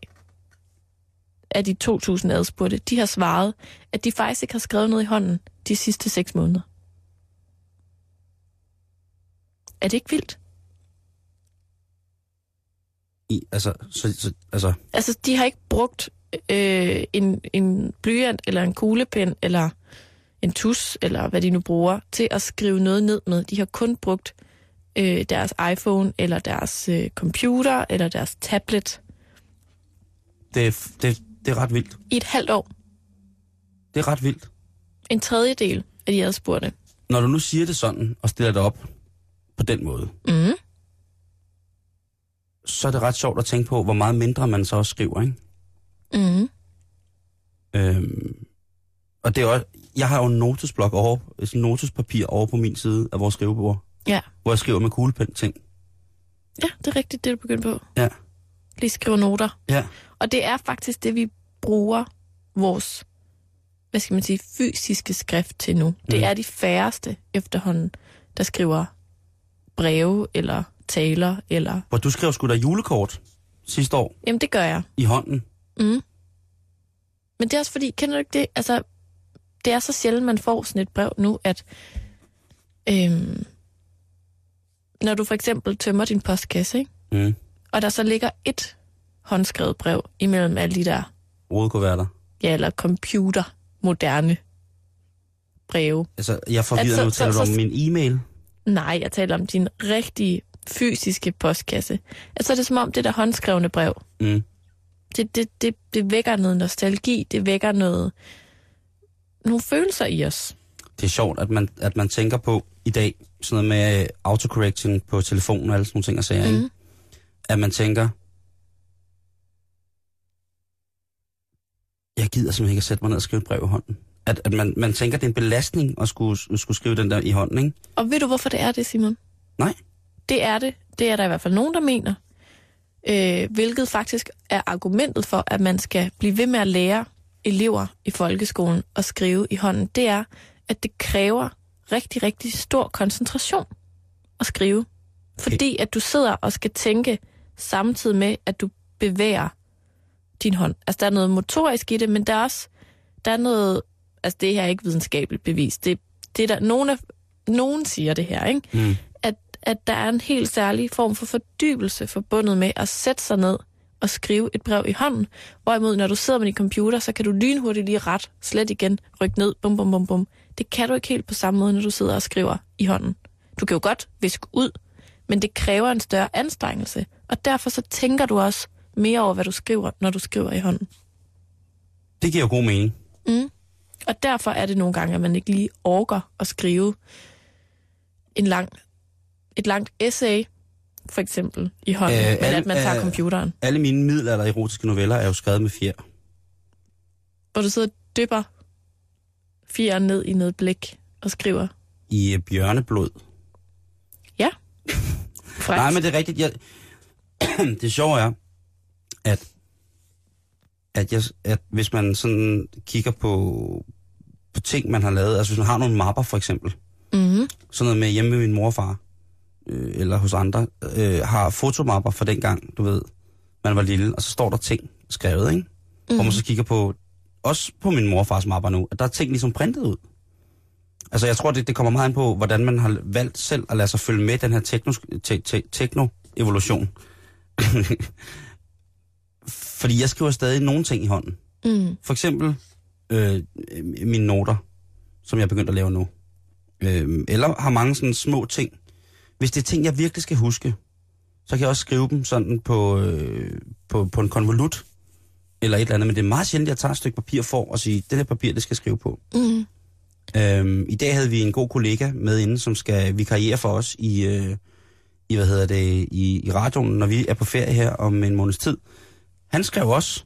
Speaker 5: af de 2.000 adspurgte, de har svaret, at de faktisk ikke har skrevet noget i hånden de sidste 6 måneder. Er det ikke vildt?
Speaker 4: I, altså, så, så, altså,
Speaker 5: Altså, de har ikke brugt øh, en, en blyant, eller en kuglepen, eller en tus, eller hvad de nu bruger, til at skrive noget ned med. De har kun brugt øh, deres iPhone, eller deres øh, computer, eller deres tablet
Speaker 4: det, er f- det, det er ret vildt.
Speaker 5: i et halvt år.
Speaker 4: Det er ret vildt.
Speaker 5: En tredjedel af de adspurgte.
Speaker 4: Når du nu siger det sådan, og stiller det op på den måde,
Speaker 5: Mm.
Speaker 4: så er det ret sjovt at tænke på, hvor meget mindre man så også skriver, ikke?
Speaker 5: Mm.
Speaker 4: Øhm, og det er også, jeg har jo en notesblok over, sådan en notespapir over på min side af vores skrivebord,
Speaker 5: Ja.
Speaker 4: hvor jeg skriver med kuglepen ting.
Speaker 5: ja, det er rigtigt, det du begyndte på.
Speaker 4: Ja.
Speaker 5: Lige skrive noter.
Speaker 4: Ja.
Speaker 5: Og det er faktisk det, vi bruger vores, hvad skal man sige, fysiske skrift til nu. Det
Speaker 4: Mm.
Speaker 5: er de færreste efterhånden, der skriver breve eller taler eller...
Speaker 4: Hvor du skrev sgu da julekort sidste år
Speaker 5: Jamen, det gør jeg.
Speaker 4: i hånden.
Speaker 5: Mm. Men det er også fordi, kender du ikke det? Altså, det er så sjældent, man får sådan et brev nu, at øhm, når du for eksempel tømmer din postkasse, ikke?
Speaker 4: Mm.
Speaker 5: og der så ligger et håndskrevet brev imellem alle de der
Speaker 4: Rodekuverter.
Speaker 5: ja, eller computer moderne breve.
Speaker 4: Altså, jeg forvirrer
Speaker 5: Altså,
Speaker 4: altså, nu,
Speaker 5: så-
Speaker 4: taler du
Speaker 5: så-
Speaker 4: om min e-mail.
Speaker 5: Nej, jeg taler om din rigtige fysiske postkasse. Altså, det er som om det der håndskrevne brev,
Speaker 4: Mm.
Speaker 5: det, det, det, det vækker noget nostalgi, det vækker noget, nogle følelser i os.
Speaker 4: Det er sjovt, at man, at man tænker på i dag, sådan noget med øh, autocorrection på telefonen og alle sådan nogle ting og sager, mm.
Speaker 5: Mm.
Speaker 4: ikke? At man tænker, jeg gider simpelthen ikke at sætte mig ned og skrive et brev i hånden. At, at man, man tænker, det er en belastning at skulle, skulle skrive den der i hånden, ikke?
Speaker 5: Og ved du, hvorfor det er det, Simon?
Speaker 4: Nej.
Speaker 5: Det er det. Det er der i hvert fald nogen, der mener. Øh, hvilket faktisk er argumentet for, at man skal blive ved med at lære elever i folkeskolen at skrive i hånden. Det er, at det kræver rigtig, rigtig stor koncentration at skrive. Fordi at du sidder og skal tænke samtidig med, at du bevæger din hånd. Altså, der er noget motorisk i det, men der er også der er noget... Altså, det her er ikke videnskabeligt bevis. Det, det er der, nogen, er, nogen siger det her, ikke?
Speaker 4: Mm.
Speaker 5: At, at der er en helt særlig form for fordybelse forbundet med at sætte sig ned og skrive et brev i hånden. Hvorimod, når du sidder med din computer, så kan du lynhurtigt lige ret, slet igen, rykke ned, bum, bum, bum, bum. Det kan du ikke helt på samme måde, når du sidder og skriver i hånden. Du kan jo godt viske ud, men det kræver en større anstrengelse, og derfor så tænker du også mere over, hvad du skriver, når du skriver i hånden.
Speaker 4: Det giver jo god mening.
Speaker 5: Mm. Og derfor er det nogle gange, at man ikke lige orker at skrive en lang, et langt essay, for eksempel, i hånden, øh,
Speaker 4: Øh,
Speaker 5: men
Speaker 4: alle-
Speaker 5: at man tager
Speaker 4: øh,
Speaker 5: computeren,
Speaker 4: Alle mine middelalder erotiske noveller er jo skrevet med fjer.
Speaker 5: hvor du sidder og dypper fire ned i noget blik og skriver.
Speaker 4: I øh, bjørneblod.
Speaker 5: Ja.
Speaker 4: Nej,
Speaker 5: Frækt.
Speaker 4: men det er rigtigt. Jeg... det sjove er, at, at, jeg, at hvis man sådan kigger på, på ting, man har lavet, altså hvis man har nogle mapper for eksempel,
Speaker 5: Mm-hmm.
Speaker 4: sådan noget med hjemme med min morfar, øh, eller hos andre, øh, har fotomapper fra dengang, du ved, man var lille, og så står der ting skrevet, ikke? Mm. Hvor man så kigger på, også på min morfars mapper nu, at der er ting ligesom printet ud. Altså jeg tror, det, det kommer meget an på, hvordan man har valgt selv at lade sig følge med den her teknos- te- te- tekno-evolution. Fordi jeg skriver stadig nogle ting i hånden.
Speaker 5: Mm.
Speaker 4: For eksempel øh, mine noter, som jeg er begyndt at lave nu. Øh, eller har mange sådan små ting. Hvis det er ting, jeg virkelig skal huske, så kan jeg også skrive dem sådan på, øh, på, på en konvolut eller et eller andet. Men det er meget sjældent, at jeg tager et stykke papir for at sige, det her papir, det skal jeg skrive på.
Speaker 5: Mm.
Speaker 4: Øhm, I dag havde vi en god kollega med inde, som skal vikariere for os i, øh, i hvad hedder det, i, i radioen, når vi er på ferie her om en måneds tid. Han skrev også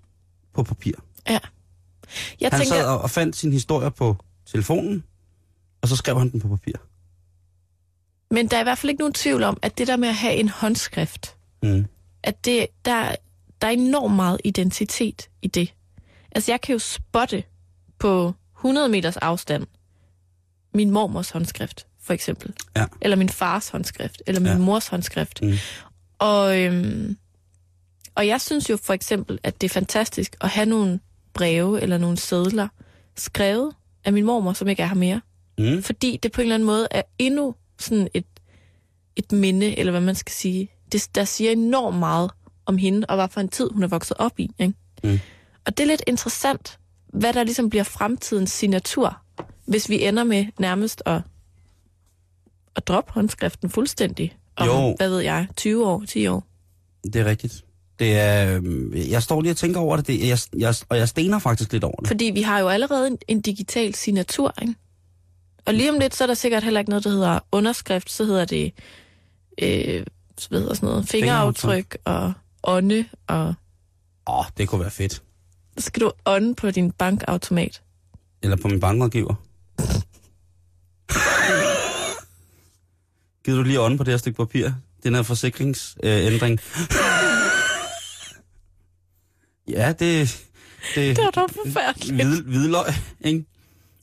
Speaker 4: på papir.
Speaker 5: Jeg
Speaker 4: han
Speaker 5: tænker,
Speaker 4: sad og, og fandt sin historie på telefonen, og så skrev han den på papir.
Speaker 5: men der er i hvert fald ikke nogen tvivl om, at det der med at have en håndskrift,
Speaker 4: Mm.
Speaker 5: at det, der, der er enormt meget identitet i det. Altså, jeg kan jo spotte på 100 meters afstand min mormors håndskrift, for eksempel.
Speaker 4: Ja.
Speaker 5: Eller min fars håndskrift, eller min
Speaker 4: Ja.
Speaker 5: ja. mors håndskrift.
Speaker 4: Mm.
Speaker 5: Og, øhm, og jeg synes jo for eksempel, at det er fantastisk at have nogle breve eller nogle sædler skrevet af min mormor, som ikke er her mere
Speaker 4: Mm.
Speaker 5: fordi det på en eller anden måde er endnu sådan et, et minde, eller hvad man skal sige, det, der siger enormt meget om hende, og hvad for en tid hun er vokset op i. Ikke?
Speaker 4: Mm.
Speaker 5: Og det er lidt interessant, hvad der ligesom bliver fremtidens signatur, hvis vi ender med nærmest at, at droppe håndskriften fuldstændig. Om,
Speaker 4: Jo.
Speaker 5: hvad ved jeg, 20 år, 10 år.
Speaker 4: Det er rigtigt. Det er, øh, jeg står lige og tænker over det, det jeg, jeg, og jeg stener faktisk lidt over det.
Speaker 5: Fordi vi har jo allerede en, en digital signatur, ikke? Og lige om lidt, så er der sikkert heller ikke noget, der hedder underskrift, så hedder det øh, så ved jeg sådan noget, fingeraftryk og ånde, og
Speaker 4: Åh, oh, det kunne være fedt.
Speaker 5: så skal du ånde på din bankautomat.
Speaker 4: Eller på min bankrådgiver. Gider du lige ånden på det her stykke papir? Den her forsikringsændring. ja, det... Det,
Speaker 5: Det var
Speaker 4: Mm.
Speaker 5: da forfærdeligt.
Speaker 4: hvid, hvidløg, ikke?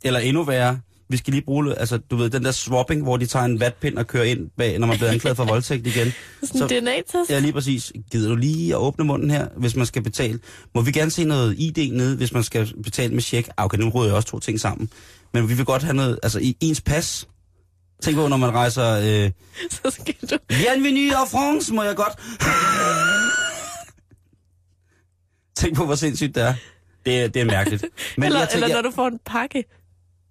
Speaker 4: Eller endnu værre, vi skal lige bruge, altså du ved, den der swapping, hvor de tager en vatpind og kører ind bag, når man bliver anklaget for voldtægt igen.
Speaker 5: Sådan
Speaker 4: Så-
Speaker 5: en DNA-test.
Speaker 4: Ja, lige præcis. Gider du lige at åbne munden her, hvis man skal betale? Må vi gerne se noget ID nede, hvis man skal betale med check? Ah, okay, nu råder jeg også to ting sammen. Men vi vil godt have noget, altså i- ens pas. Tænk på, når man rejser... Øh,
Speaker 5: Så skal du...
Speaker 4: Bienvenue en France, må jeg godt. Tænk på, hvor sindssygt det er. Det, er- det er mærkeligt. Men
Speaker 5: eller,
Speaker 4: jeg tænker,
Speaker 5: eller når du får en pakke.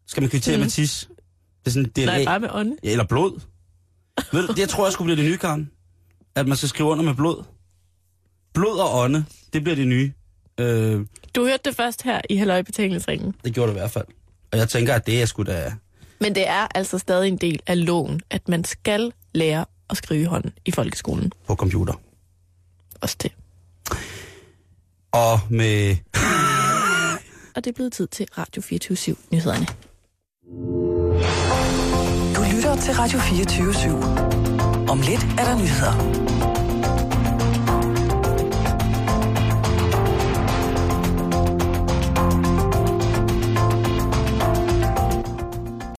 Speaker 4: skal man kvittere med tis? Det er sådan, det er
Speaker 5: Mhm. Nej, bare med ånde.
Speaker 4: Ja, eller blod. Ved du, det tror jeg skulle blive det nye, Karen. At man skal skrive under med blod. Blod og ånde, det bliver det nye. Øh,
Speaker 5: Du hørte det først her i Halløjbetalingsringen.
Speaker 4: det gjorde det i hvert fald. Og jeg tænker, at det er sgu da...
Speaker 5: Men det er altså stadig en del af loven, at man skal lære at skrive i hånden i folkeskolen.
Speaker 4: på computer.
Speaker 5: Også det.
Speaker 4: Og med...
Speaker 5: og det er blevet tid til Radio 24 nyhederne.
Speaker 3: Du lytter til Radio 24 /7. Om lidt er der nyheder.